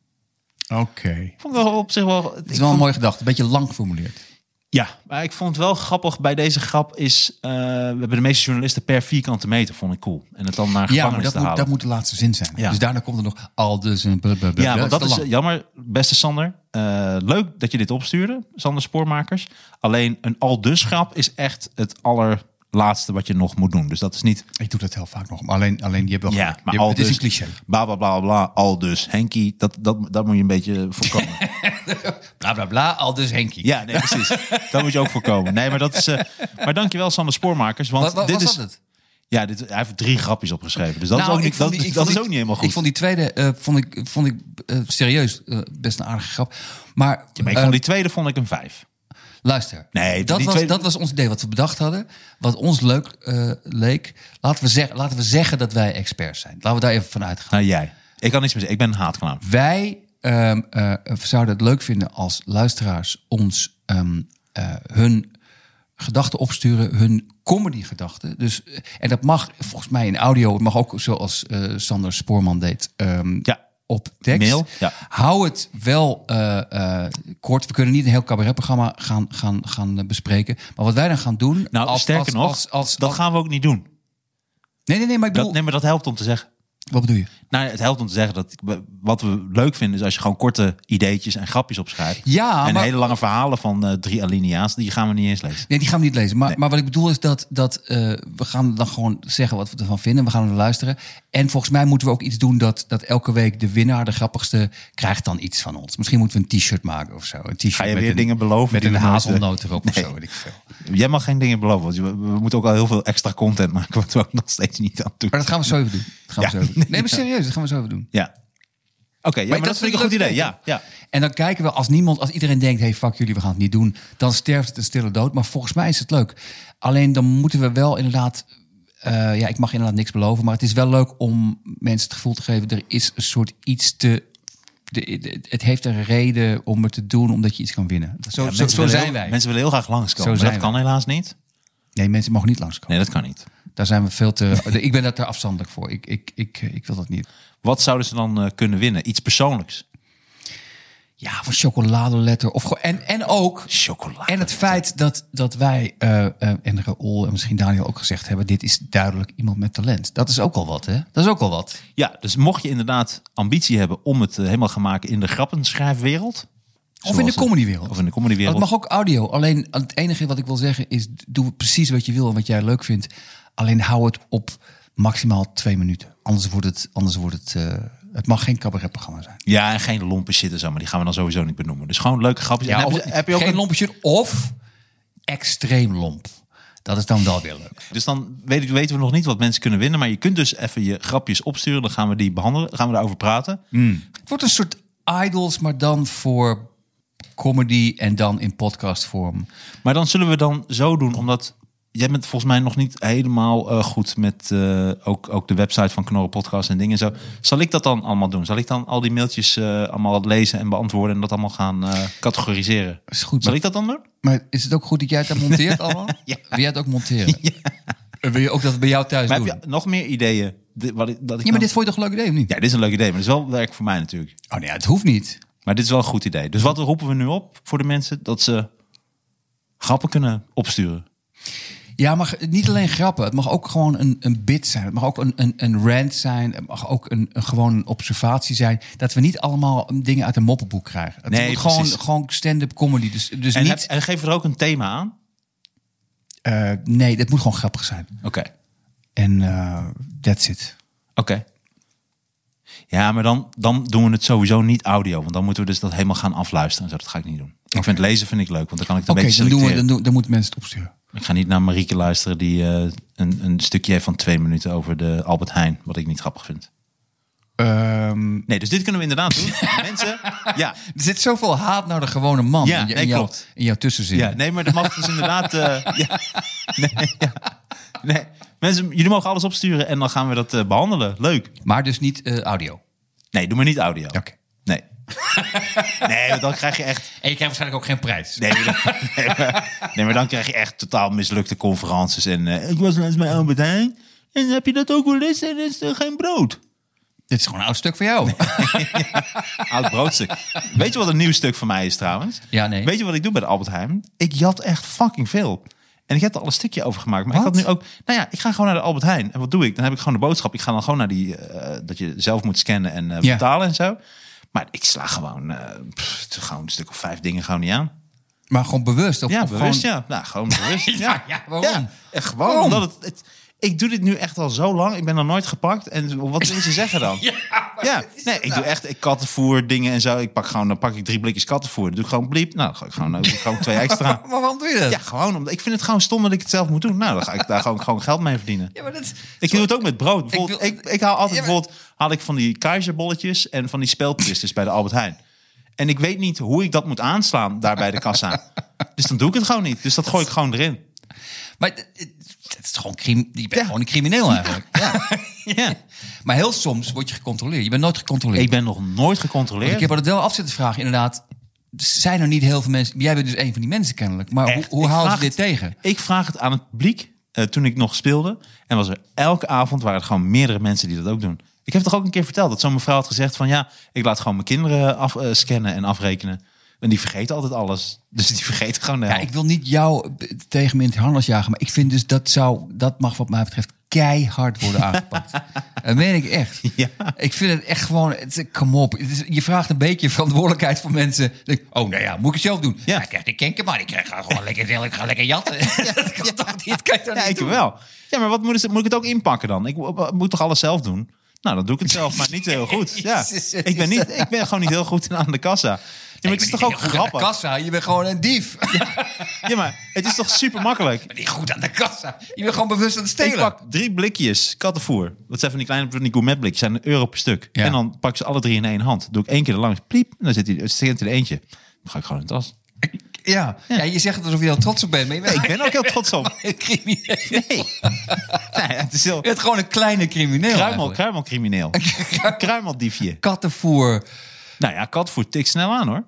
Oké.
vond ik wel op zich wel.
Het is wel een mooie gedachte. Een beetje lang geformuleerd.
Ja, maar ik vond het wel grappig bij deze grap is. eh, we hebben de meeste journalisten per vierkante meter, vond ik cool. En het dan naar
Ja,
gevangenis
maar dat
te
moet,
halen.
dat moet de laatste zin zijn.
Ja.
Dus daarna komt er nog al dus een...
ja, want dat is
te lang.
jammer, beste Sander. Eh, leuk dat je dit opstuurde, Sander Spoormakers. Alleen een al dus grap is echt het allerlaatste wat je nog moet doen. Dus dat is niet.
Ik doe dat heel vaak nog. Maar alleen, alleen die hebben wel
Ja,
gelijk.
maar
Je-
al
Het
dus,
is een cliché.
Bla bla bla bla. Al dus. Henkie, dat, dat, dat moet je een beetje voorkomen.
Bla, bla, bla. Al dus Henkie.
ja, nee, precies. dat moet je ook voorkomen. Nee, maar dat is. eh maar dankjewel, Sander Spoormakers. Want
Wat, wat
dit
was
is.
dat het?
Ja, dit, hij heeft drie grapjes opgeschreven. Dus dat is
Nou,
ook
ik
niet,
vond
dat,
die- ik
dat
vond
is
die-
ook niet helemaal goed.
Ik vond die tweede eh, vond ik, vond ik, eh, serieus eh, best een aardige grap. Maar,
maar ik
eh,
vond die tweede vond ik een vijf.
luister,
Nee,
dat,
die
was,
tweede-
dat was ons idee wat we bedacht hadden. Wat ons leuk eh, leek. Laten we, zeggen, laten we zeggen dat wij experts zijn. Laten we daar even van uitgaan.
Nou, jij. Ik kan niks meer zeggen. Ik ben een haatklaam.
Wij ehm, eh, zouden het leuk vinden als luisteraars ons ehm, eh, hun gedachten opsturen, hun comedy-gedachten. Dus, eh, en dat mag volgens mij in audio, het mag ook zoals eh, Sander Spoorman deed. ehm,
Ja.
op tekst.
Mail, ja.
Hou het wel eh, eh, kort. We kunnen niet een heel cabaretprogramma gaan, gaan, gaan eh, bespreken. Maar wat wij dan gaan doen...
Nou,
als-
sterker
als-
nog,
als- als-
dat
als-
gaan we ook niet doen.
Nee, nee, nee, maar
Dat,
ik bedoel...
nee, maar dat helpt om te zeggen.
Wat bedoel je?
Nou, het helpt om te zeggen dat we- wat we leuk vinden is als je gewoon korte ideetjes en grapjes opschrijft.
Ja,
en
maar-
hele lange verhalen van eh, drie alinea's, die gaan we niet eens lezen.
Nee, die gaan we niet lezen. Maar, maar wat ik bedoel is dat, dat eh, we gaan dan gewoon zeggen wat we ervan vinden. We gaan er luisteren. En volgens mij moeten we ook iets doen dat, dat elke week de winnaar, de grappigste, krijgt dan iets van ons. Misschien moeten we een t-shirt maken of zo. Een t-shirt
Ga je
met
weer
een-
dingen beloven
Met
die
een
we nooit, eh,
hazelnoot erop of zo. Weet ik veel.
Jij mag geen dingen beloven, want je- we, we moeten ook al heel veel extra content maken, wat we ook nog steeds niet aan doen.
Maar dat gaan we zo even doen. Dat gaan
Ja.
we zo even doen. Nee, maar serieus, dat gaan we zo even doen.
Ja. Oké, ja, maar, dat vind ik een goed
leuk
idee. Ja,
idee.
ja.
En dan kijken we, als niemand, als iedereen denkt, hey fuck jullie, we gaan het niet doen, dan sterft het een stille dood. Maar volgens mij is het leuk. Alleen dan moeten we wel inderdaad, eh, ja, ik mag inderdaad niks beloven, maar het is wel leuk om mensen het gevoel te geven, er is een soort iets te, de- de- het heeft een reden om het te doen, omdat je iets kan winnen. Zo,
Ja,
zo,
mensen
zo
willen
zijn
heel-
wij.
Mensen willen heel graag langskomen,
Zo
maar dat
zijn
kan helaas niet.
Nee, mensen mogen niet langskomen.
Nee, dat kan niet.
Daar zijn we veel te, ik ben daar te afstandelijk voor. Ik, ik, ik, ik wil dat niet.
Wat zouden ze dan eh, kunnen winnen? Iets persoonlijks.
Ja, of een chocoladeletter. Of gewoon, en, en ook.
Chocolade.
En het feit dat, dat wij, eh, eh, en Raoul en misschien Daniel ook gezegd hebben: dit is duidelijk iemand met talent. Dat is ook al wat, hè? Dat is ook al wat.
Ja, dus mocht je inderdaad ambitie hebben om het eh, helemaal gaan maken in de grappenschrijfwereld.
Of in de comedywereld.
Of in de comedywereld.
Het mag ook audio. Alleen het enige wat ik wil zeggen is: doe precies wat je wil en wat jij leuk vindt. Alleen hou het op maximaal twee minuten. Anders wordt het. Anders wordt het eh, het mag geen cabaretprogramma zijn.
Ja, en geen lompe shit en zo, maar die gaan we dan sowieso niet benoemen. Dus gewoon leuke grapjes. En heb,
of,
je, heb je ook
geen
een
lompe shirt of extreem lomp. Dat is dan wel weer leuk.
Dus dan weet ik- weten we nog niet wat mensen kunnen winnen. Maar je kunt dus even je grapjes opsturen. Dan gaan we die behandelen. Dan gaan we daarover praten.
Het wordt een soort idols, maar dan voor comedy en dan in podcastvorm.
Maar dan zullen we dan zo doen, omdat... Jij bent volgens mij nog niet helemaal eh, goed met eh, ook, ook de website van Knorren Podcast en dingen en zo. Zal ik dat dan allemaal doen? Zal ik dan al die mailtjes eh, allemaal lezen en beantwoorden en dat allemaal gaan eh, categoriseren?
Is goed,
Zal
maar,
ik dat dan doen?
maar is het ook goed dat jij het dan monteert allemaal?
Ja.
Wil jij het ook monteren? En Wil je ook dat het bij jou thuis
Maar
doen?
heb je nog meer ideeën? Dit- wat ik, dat ik
Ja, maar
dan-
dit vond je toch een leuk idee of niet?
ja, dit is een leuk idee, maar het is wel werk voor mij natuurlijk.
Oh nee, het hoeft niet.
Maar dit is wel een goed idee. Dus wat roepen we nu op voor de mensen? Dat ze grappen kunnen opsturen.
Ja, maar niet alleen grappen. Het mag ook gewoon een, een bit zijn. Het mag ook een, een, een rant zijn. Het mag ook een, een, gewoon een observatie zijn. Dat we niet allemaal dingen uit een moppenboek krijgen. Het
Nee,
moet gewoon,
precies.
gewoon stand-up comedy. Dus, dus
En,
niet...
heb- en geef er ook een thema aan.
eh, nee, dat moet gewoon grappig zijn.
Oké.
En eh, that's it.
Oké. Ja, maar dan, dan doen we het sowieso niet audio. Want dan moeten we dus dat helemaal gaan afluisteren. en zo. Dat ga ik niet doen. Ik vind lezen vind ik leuk, want dan kan ik het een
Oké,
beetje
dan, doen we,
selecteren.
dan, doen, dan moeten mensen het opsturen.
Ik ga niet naar Marieke luisteren die eh, een, een stukje heeft van twee minuten over de Albert Heijn. Wat ik niet grappig vind. Nee, dus dit kunnen we inderdaad doen. Mensen, ja.
Ehm, er zit zoveel haat naar de gewone man
Ja,
in, je- in
nee,
jouw,
klopt.
in jouw tussenzin.
Ja, nee, maar dat mag dus inderdaad. eh, ja. Nee, ja. nee. Mensen, jullie mogen alles opsturen en dan gaan we dat eh, behandelen. Leuk.
Maar dus niet eh, audio. Oké.
Nee, doe maar niet audio. Nee. Nee, want dan krijg je echt.
En je krijgt waarschijnlijk ook geen prijs.
Nee maar, dan, nee, maar, nee, maar dan krijg je echt totaal mislukte conferences. En eh, ik was laatst bij Albert Heijn. En heb je dat ook wel eens? En is er geen brood.
Dit is gewoon een oud stuk voor jou.
Oud broodstuk. Weet je wat een nieuw stuk van mij is trouwens?
Ja, nee.
Weet je wat ik doe bij de Albert Heijn? Ik jat echt fucking veel. En ik heb er al een stukje over gemaakt. Maar ik
Wat?
had nu ook... Nou ja, ik ga gewoon naar de Albert Heijn. En wat doe ik? Dan heb ik gewoon de boodschap. Ik ga dan gewoon naar die... eh, dat je zelf moet scannen en eh,
Ja.
betalen en zo. Maar ik sla gewoon... eh, pff, gewoon een stuk of vijf dingen gewoon niet aan.
Maar gewoon bewust. Of,
Ja,
of
bewust
gewoon-
ja. Nou, gewoon bewust.
Ja, ja, waarom?
en gewoon omdat het... het- ik doe dit nu echt al zo lang. Ik ben nog nooit gepakt. En wat wil ze zeggen dan? ja, nee, ik doe echt ik kattenvoer dingen en zo. Ik pak gewoon, dan pak ik drie blikjes kattenvoer. Dan doe ik gewoon bliep. Nou, dan ga ik gewoon, dan doe ik gewoon twee extra.
Maar waarom doe je dat?
Ja, gewoon. Omdat, ik vind het gewoon stom dat ik het zelf moet doen. Nou, dan ga ik daar gewoon, gewoon geld mee verdienen.
Ja, maar dat...
Ik doe het ook met brood. Bijvoorbeeld,
wil-
ik, ik, haal altijd
Ja, maar-
bijvoorbeeld haal ik van die keizerbolletjes en van die speltwisters bij de Albert Heijn. En ik weet niet hoe ik dat moet aanslaan daar bij de kassa. Dus dan doe ik het gewoon niet. Dus dat gooi ik gewoon erin.
Maar het- het het is gewoon crim, je bent gewoon een crimineel eigenlijk. Ja.
Ja.
Maar heel soms word je gecontroleerd. Je bent nooit gecontroleerd.
Ik ben nog nooit gecontroleerd.
Ik heb het wel af zitten vragen, inderdaad. Zijn er niet heel veel mensen... Jij bent dus een van die mensen kennelijk. Maar hoe,
Echt,
hoe
ik
houden ze
vraag
dit
het-
tegen?
Ik vraag het aan het publiek eh, toen ik nog speelde. En was er elke avond waren er gewoon meerdere mensen die dat ook doen. Ik heb toch ook een keer verteld dat zo'n mevrouw had gezegd van ja, ik laat gewoon mijn kinderen af, eh, scannen en afrekenen. En die vergeten altijd alles. Dus die vergeten gewoon de
Ja,
helft.
ik wil niet jou eh, tegen me in het harnas jagen, maar ik vind dus dat zou, dat mag wat mij betreft keihard worden aangepakt. dat meen ik echt.
Ja.
Ik vind het echt gewoon, het is- kom op. Het is- je vraagt een beetje verantwoordelijkheid van mensen. Dan denk ik, oh, nou ja, moet ik het zelf doen?
Ja.
Ja, ik krijg de kenker, maar ik ga gewoon lekker, ik ga lekker jatten. dat kan toch niet? Kan je toch
Ja,
niet
ik
doen?
wel. Ja, maar wat moet, is- moet ik het ook inpakken dan? Ik mo- moet toch alles zelf doen? Nou, dan doe ik het zelf, maar niet heel goed. Ja.
Jezus,
Ik, ben niet, ik ben gewoon niet heel goed aan de kassa. Ja, maar het
Je
is
bent
toch ook
niet goed aan de
grappig?
kassa, je bent gewoon een dief. Je
Ja, maar het is toch super makkelijk?
bent niet goed aan de kassa. Je bent gewoon bewust aan het
Ik
stelen.
pak drie blikjes kattenvoer. Dat zijn van die kleine van die gourmetblikjes. zijn een euro per stuk.
Ja.
En dan pak ik ze alle drie in één hand. Doe ik één keer er langs. Pliep. En dan zit hij zit er eentje. Dan ga ik gewoon in de tas.
Ja. Ja. je zegt het alsof je heel trots op bent, maar je bent
Ik ben ook heel trots op.
een crimineel.
Nee. nee het is heel...
Je bent gewoon een kleine crimineel
Kruimel,
eigenlijk.
kruimelcrimineel. Kruimeldiefje.
Kattenvoer.
Nou ja, katvoer tikt snel aan hoor.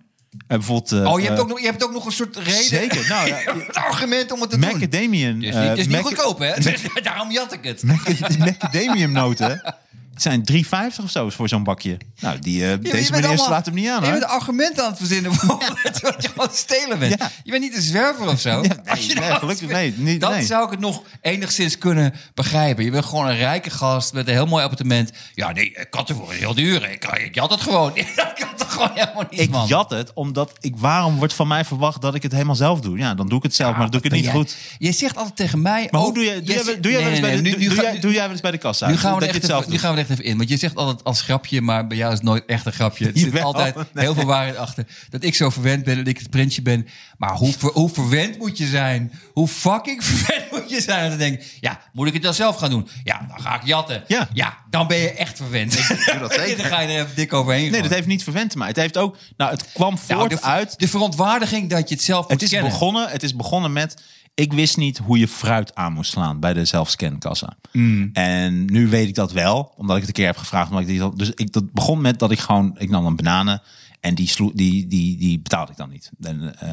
En bijvoorbeeld... eh,
Oh, je hebt,
eh,
ook nog, je hebt ook nog een soort reden.
Zeker. Nou, ja,
Het argument om het te doen. Het
Macadamian.
is niet,
eh,
het is niet
maca-
goedkoop, hè? Dus Daarom jat ik het.
maca- Macadamiumnoten het zijn 3,50 of zo voor zo'n bakje. Nou, die, eh,
Ja, maar je
deze
bent
meneer
allemaal-
slaat hem niet aan.
Je
hoor.
bent argumenten aan het verzinnen voor dat je gewoon stelen bent.
Ja.
Je bent niet een zwerver of zo. Als je
nee,
nou-
gelukkig- nee, niet-
Dan
nee.
zou ik het nog enigszins kunnen begrijpen. Je bent gewoon een rijke gast met een heel mooi appartement. Ja, nee, ik kan ervoor heel duur. Ik, ik jat het gewoon. dat kan toch gewoon helemaal niet,
Ik
man.
jat het, omdat ik, waarom wordt van mij verwacht dat ik het helemaal zelf doe? Ja, dan doe ik het zelf, maar dan doe ik het niet
Ah, Jij-
goed.
Jij zegt altijd tegen mij...
Maar hoe
ook-
doe jij, doe
jij
jij,
zegt-
doe jij wel eens
nee,
bij
nee,
de-
nee, nu
doe
ga-
jij- doe jij wel eens bij de kassa?
Nu gaan, we
dat
er
je
echt
het zelf
even, nu
doet.
gaan we er echt even in. Want je zegt altijd als grapje, maar bij jou is het nooit echt een grapje. Er zit
Jawel,
altijd heel veel waarheid achter. Dat ik zo verwend ben en ik het printje ben. Maar hoe, ver- hoe verwend moet je zijn? Hoe fucking verwend moet je zijn? En dan denk ik, ja, moet ik het dan zelf gaan doen? Ja, dan ga ik jatten.
Ja.
dan ben je echt verwend.
doe dat zeker.
dan ga je er even dik overheen.
Nee,
gewoon.
dat heeft niet verwend maar Het heeft ook, nou, het kwam
Nou,
voort
de, ver-
uit.
De verontwaardiging dat je het zelf moet
Het is
kennen.
begonnen, het is begonnen met, ik wist niet hoe je fruit aan moest slaan bij de zelfscankassa.
Mm.
En nu weet ik dat wel, omdat ik het een keer heb gevraagd. Omdat ik die, dan- dus ik, dat begon met dat ik gewoon, ik nam dan bananen en die, sloe, die, die, die betaalde ik dan niet. En, eh,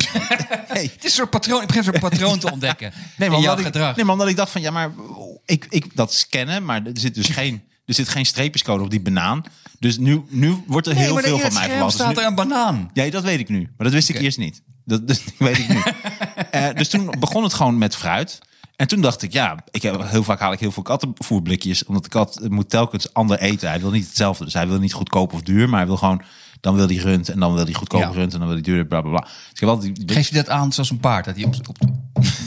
Het is een soort patroon. Ik begin een soort patroon te ontdekken.
Nee, maar
in jouw
omdat ik,
gedrag.
nee, maar omdat ik dacht van, ja, maar ik, ik dat scannen, maar er zit dus geen, er zit geen streepjescode op die banaan. Dus nu, nu wordt er heel
maar
veel
in
van
het
mij
scherm
verwacht. Dus
staat
nu-
er een banaan.
Nee, dat weet ik nu. Maar dat wist ik
Oké.
eerst niet. Dat, dus, dat weet ik nu. Eh, dus toen begon het gewoon met fruit. En toen dacht ik, ja, ik heb, heel vaak haal ik heel veel kattenvoerblikjes. Omdat de kat eh, moet telkens ander eten. Hij wil niet hetzelfde. Dus hij wil niet goedkoop of duur. Maar hij wil gewoon, dan wil hij rund. En dan wil hij goedkoop
Ja.
rund. En dan wil hij duurder, bla, bla, bla. Dus ik heb altijd die-
Geef je dat aan zoals een paard, dat hij op, op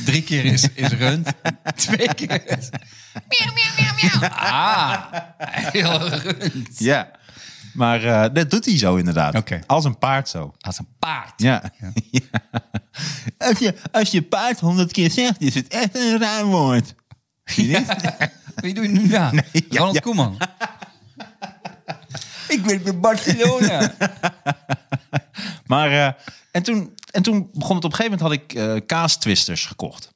drie keer is, is rund, twee keer is... Miauw, miauw, miauw, miauw. Ah, heel rund.
Ja. Maar eh, dat doet hij zo inderdaad.
Oké.
Als een paard zo.
Als een paard.
Ja. Als, je, als je paard honderd keer zegt, is het echt een raar woord. Zie je dit?
Wie doe je nu na?
ja,
Ronald
ja.
Koeman. Ik ben bij Barcelona.
Maar, eh, en, toen, en toen begon het op een gegeven moment, had ik eh, kaastwisters gekocht.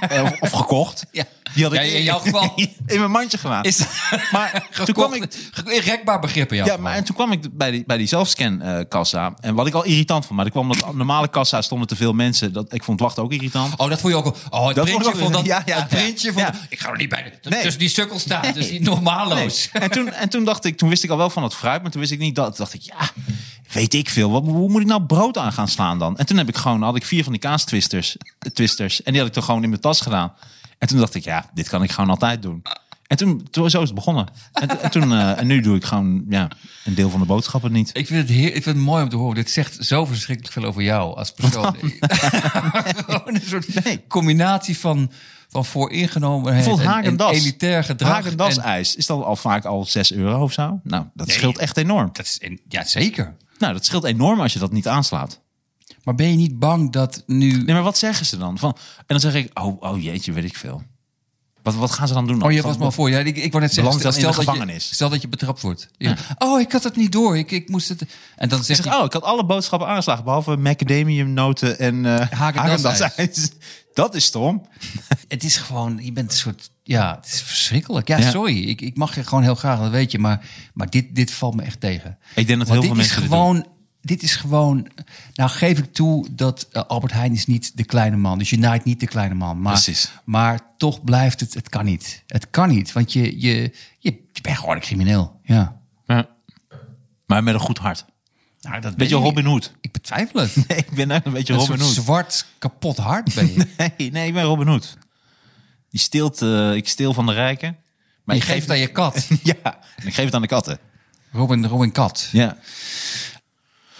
Eh, of, of gekocht.
Ja.
Die had ik
Ja, in jouw geval.
in mijn mandje gedaan.
Is
maar toen kwam ik...
Rekbaar begrippen, ja.
Ja, maar en toen kwam ik bij die, bij die zelfscan-kassa. en wat ik al irritant vond, maar er kwam dat normale kassa stonden te veel mensen. Dat, ik vond wachten ook irritant.
Oh, dat vond je ook al. Oh, het
Dat vond ik
printje
ook-
vond dat.
ja, ja,
het printje vond.
ja.
Ik ga er niet bij.
Nee.
Tussen die sukkel staan.
Nee.
Dus die normalo's.
En toen, en toen dacht ik, toen wist ik al wel van het fruit, maar toen wist ik niet dat. Toen dacht ik, ja, weet ik veel. Wat, hoe moet ik nou brood aan gaan slaan dan? En toen heb ik gewoon, had ik vier van die kaastwisters eh, twisters, en die had ik toch gewoon in mijn tas gedaan. En toen dacht ik, ja, dit kan ik gewoon altijd doen. En toen, toen zo is het begonnen. En, t- en toen, eh, en nu doe ik gewoon ja, een deel van de boodschappen niet.
Ik vind, het heer, ik vind het mooi om te horen. Dit zegt zo verschrikkelijk veel over jou als persoon. Gewoon een soort
Nee.
combinatie van, van vooringenomenheid en,
Bijvoorbeeld
en
Hagendas.
elitair gedrag.
Hagendas
en-
ijs is dan al vaak al 6 euro of zo. Nou, dat scheelt echt enorm.
dat is in- ja, zeker.
Nou, dat scheelt enorm als je dat niet aanslaat.
Maar ben je niet bang dat nu...
Nee, maar wat zeggen ze dan? Van, en dan zeg ik, oh, oh jeetje, weet ik veel. Wat, wat gaan ze dan doen? dan?
Oh, je
Van-
was maar voor. Ja, ik, ik wou net zeggen,
Beland dan in de
dat Je,
gevangenis.
stel dat je betrapt wordt. Ja. Oh, ik had het niet door. Ik, ik moest het... En dan
Ik
zegt
zeg,
hij,
oh, ik had alle boodschappen aangeslagen, behalve macadamiumnoten en eh
Haagendas-ijs.
Haagendas-ijs. Dat is stom.
het is gewoon... Je bent een soort... Ja, het is verschrikkelijk. Ja,
Ja.
sorry. Ik, ik mag je gewoon heel graag, dat weet je. Maar, maar dit, dit valt me echt tegen.
Ik denk dat
Want
heel veel
dit is
mensen dit
gewoon dit is gewoon... Nou geef ik toe dat eh, Albert Heijn is niet de kleine man. Dus je naait niet de kleine man. Maar,
Precies.
Maar toch blijft het... Het kan niet. Het kan niet. Want je, je, je, je bent gewoon een crimineel. Ja.
Ja. Maar met een goed hart.
Nou, dat
Beetje Robin Hood.
Ik betwijfel het.
Nee, ik ben echt een beetje
Een
Robin
soort
Hood.
zwart kapot hart ben je.
Nee, nee, ik ben Robin Hood. Die steelt, eh, ik steel van de rijken. Maar
je
ik
geeft aan je kat.
Ja, en ik geef het aan de katten.
Robin, Robin Kat.
Ja,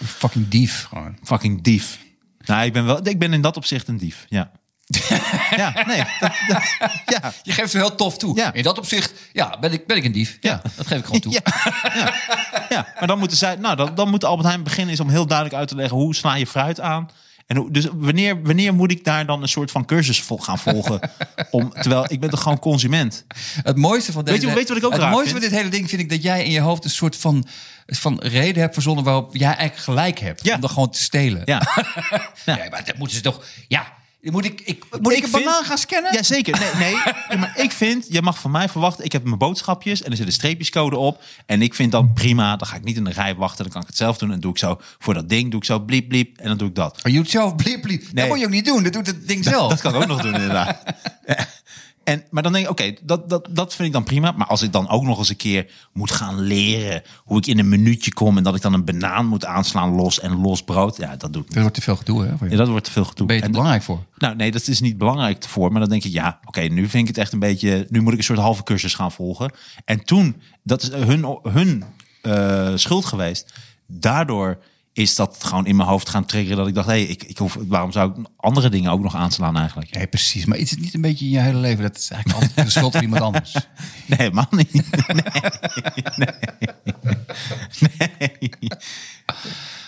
Fucking dief gewoon.
fucking dief. Nou, ik ben, wel, ik ben in dat opzicht een dief, ja. ja, nee, dat- dat- ja,
Je geeft ze heel tof toe.
Ja.
In dat opzicht ja, ben, ik, ben ik een dief. Ja, dat geef ik gewoon toe.
Ja. ja, maar dan moeten zij, nou, dan, dan moet Albert Heijn beginnen is om heel duidelijk uit te leggen hoe sla je fruit aan. En hoe, dus wanneer, wanneer moet ik daar dan een soort van cursus vol gaan volgen? Om, terwijl ik ben toch gewoon consument.
Het mooiste van deze...
Weet je- weet je wat ik ook
Het
raar
mooiste
vind?
van dit hele ding vind ik dat jij in je hoofd een soort van, van reden hebt verzonnen waarop jij eigenlijk gelijk hebt.
Ja.
Om dat gewoon te stelen.
Ja.
Nee, maar dat moeten ze toch... Ja, moet ik, ik, moet ik, een
vind-
banaan gaan scannen?
Jazeker. Nee, nee. Ja, maar ik vind, je mag van mij verwachten, ik heb mijn boodschapjes en er zit een streepjescode op. En ik vind dan prima, dan ga ik niet in de rij wachten, dan kan ik het zelf doen. En doe ik zo voor dat ding, doe ik zo bliep bliep en dan doe ik dat.
Oh, You zelf bliep bliep. Dat
Nee.
moet je ook niet doen. Dat doet het ding zelf.
Dat kan ik ook nog doen, inderdaad. En, maar dan denk ik, oké, dat, dat, dat vind ik dan prima. Maar als ik dan ook nog eens een keer moet gaan leren hoe ik in een minuutje kom en dat ik dan een banaan moet aanslaan los en los brood, ja, dat doe ik niet.
Er wordt te veel gedoe, hè? voor je.
Ja, dat wordt te veel gedoe.
Ben je te
En-
belangrijk voor?
Nou, nee, dat is niet belangrijk voor. Maar dan denk ik, ja, oké, nu vind ik het echt een beetje. Nu moet ik een soort halve cursus gaan volgen. En toen, dat is hun, hun eh, schuld geweest. Daardoor is dat gewoon in mijn hoofd gaan triggeren. Dat ik dacht, hé, hey, ik, ik hoef, waarom zou ik andere dingen ook nog aanslaan eigenlijk?
Nee, precies. Maar is het niet een beetje in je hele leven? Dat is eigenlijk altijd de schuld van iemand anders.
Nee, helemaal niet. Nee. Nee.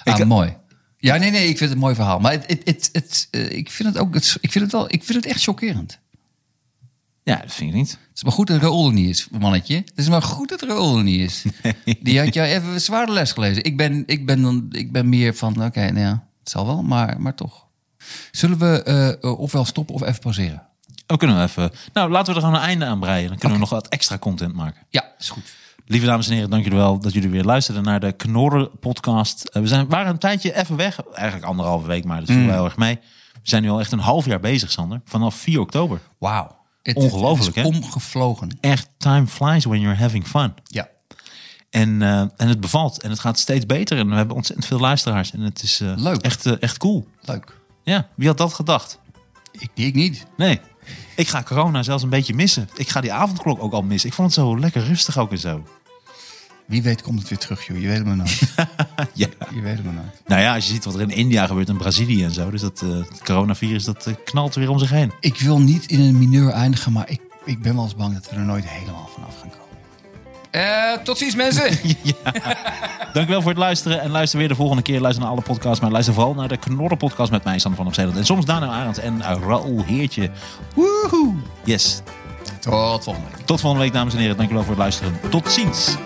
Nee.
Ah, mooi. Ja, nee, nee, ik vind het een mooi verhaal. Maar het, het, het, het, eh, ik vind het ook, het, ik vind het wel, ik vind het echt chockerend.
Ja, dat vind ik niet.
Het is maar goed dat Raoul er niet is, mannetje. Het is maar goed dat Raoul er niet is. Die had jou even een zware les gelezen. Ik ben, ik ben, dan, ik ben meer van, oké, nou ja, het zal wel, maar, maar toch. Zullen we eh, eh, ofwel stoppen of even pauzeren?
We kunnen wel even. Nou, laten we er gewoon een einde aan breien. Dan kunnen we nog wat extra content maken.
Ja, is goed.
Lieve dames en heren, dank jullie wel dat jullie weer luisterden naar de Knorren podcast. Eh, We zijn, waren een tijdje even weg, eigenlijk anderhalve week, maar dat viel wel heel erg mee. We zijn nu al echt een half jaar bezig, Sander. Vanaf 4 oktober.
Wauw. Het-
Ongelooflijk,
het is
hè?
omgevlogen.
Echt, time flies when you're having fun.
Ja.
En, eh, en het bevalt en het gaat steeds beter. En we hebben ontzettend veel luisteraars. En het is eh,
Leuk.
Echt, eh, echt cool.
Leuk.
Ja, wie had dat gedacht?
Ik, ik niet.
Nee, ik ga corona zelfs een beetje missen. Ik ga die avondklok ook al missen. Ik vond het zo lekker rustig ook en zo.
Wie weet komt het weer terug, joh. Je weet het maar nooit.
Ja.
Je weet het maar nooit.
Nou ja, als je ziet wat er in India gebeurt en Brazilië en zo. Dus dat eh, het coronavirus, dat eh, knalt weer om zich heen.
Ik wil niet in een mineur eindigen, maar ik, ik ben wel eens bang dat we er nooit helemaal vanaf gaan komen. Eh, tot ziens, mensen.
Dankjewel voor het luisteren. En luister weer de volgende keer. Luister naar alle podcasts. Maar luister vooral naar de Knorren podcast met mij, Sander van Opzeeland. En soms Daniel Arend en eh, Raoul Heertje. Woehoe. Yes.
tot volgende week.
Tot volgende week, dames en heren. Dankjewel voor het luisteren. Tot ziens.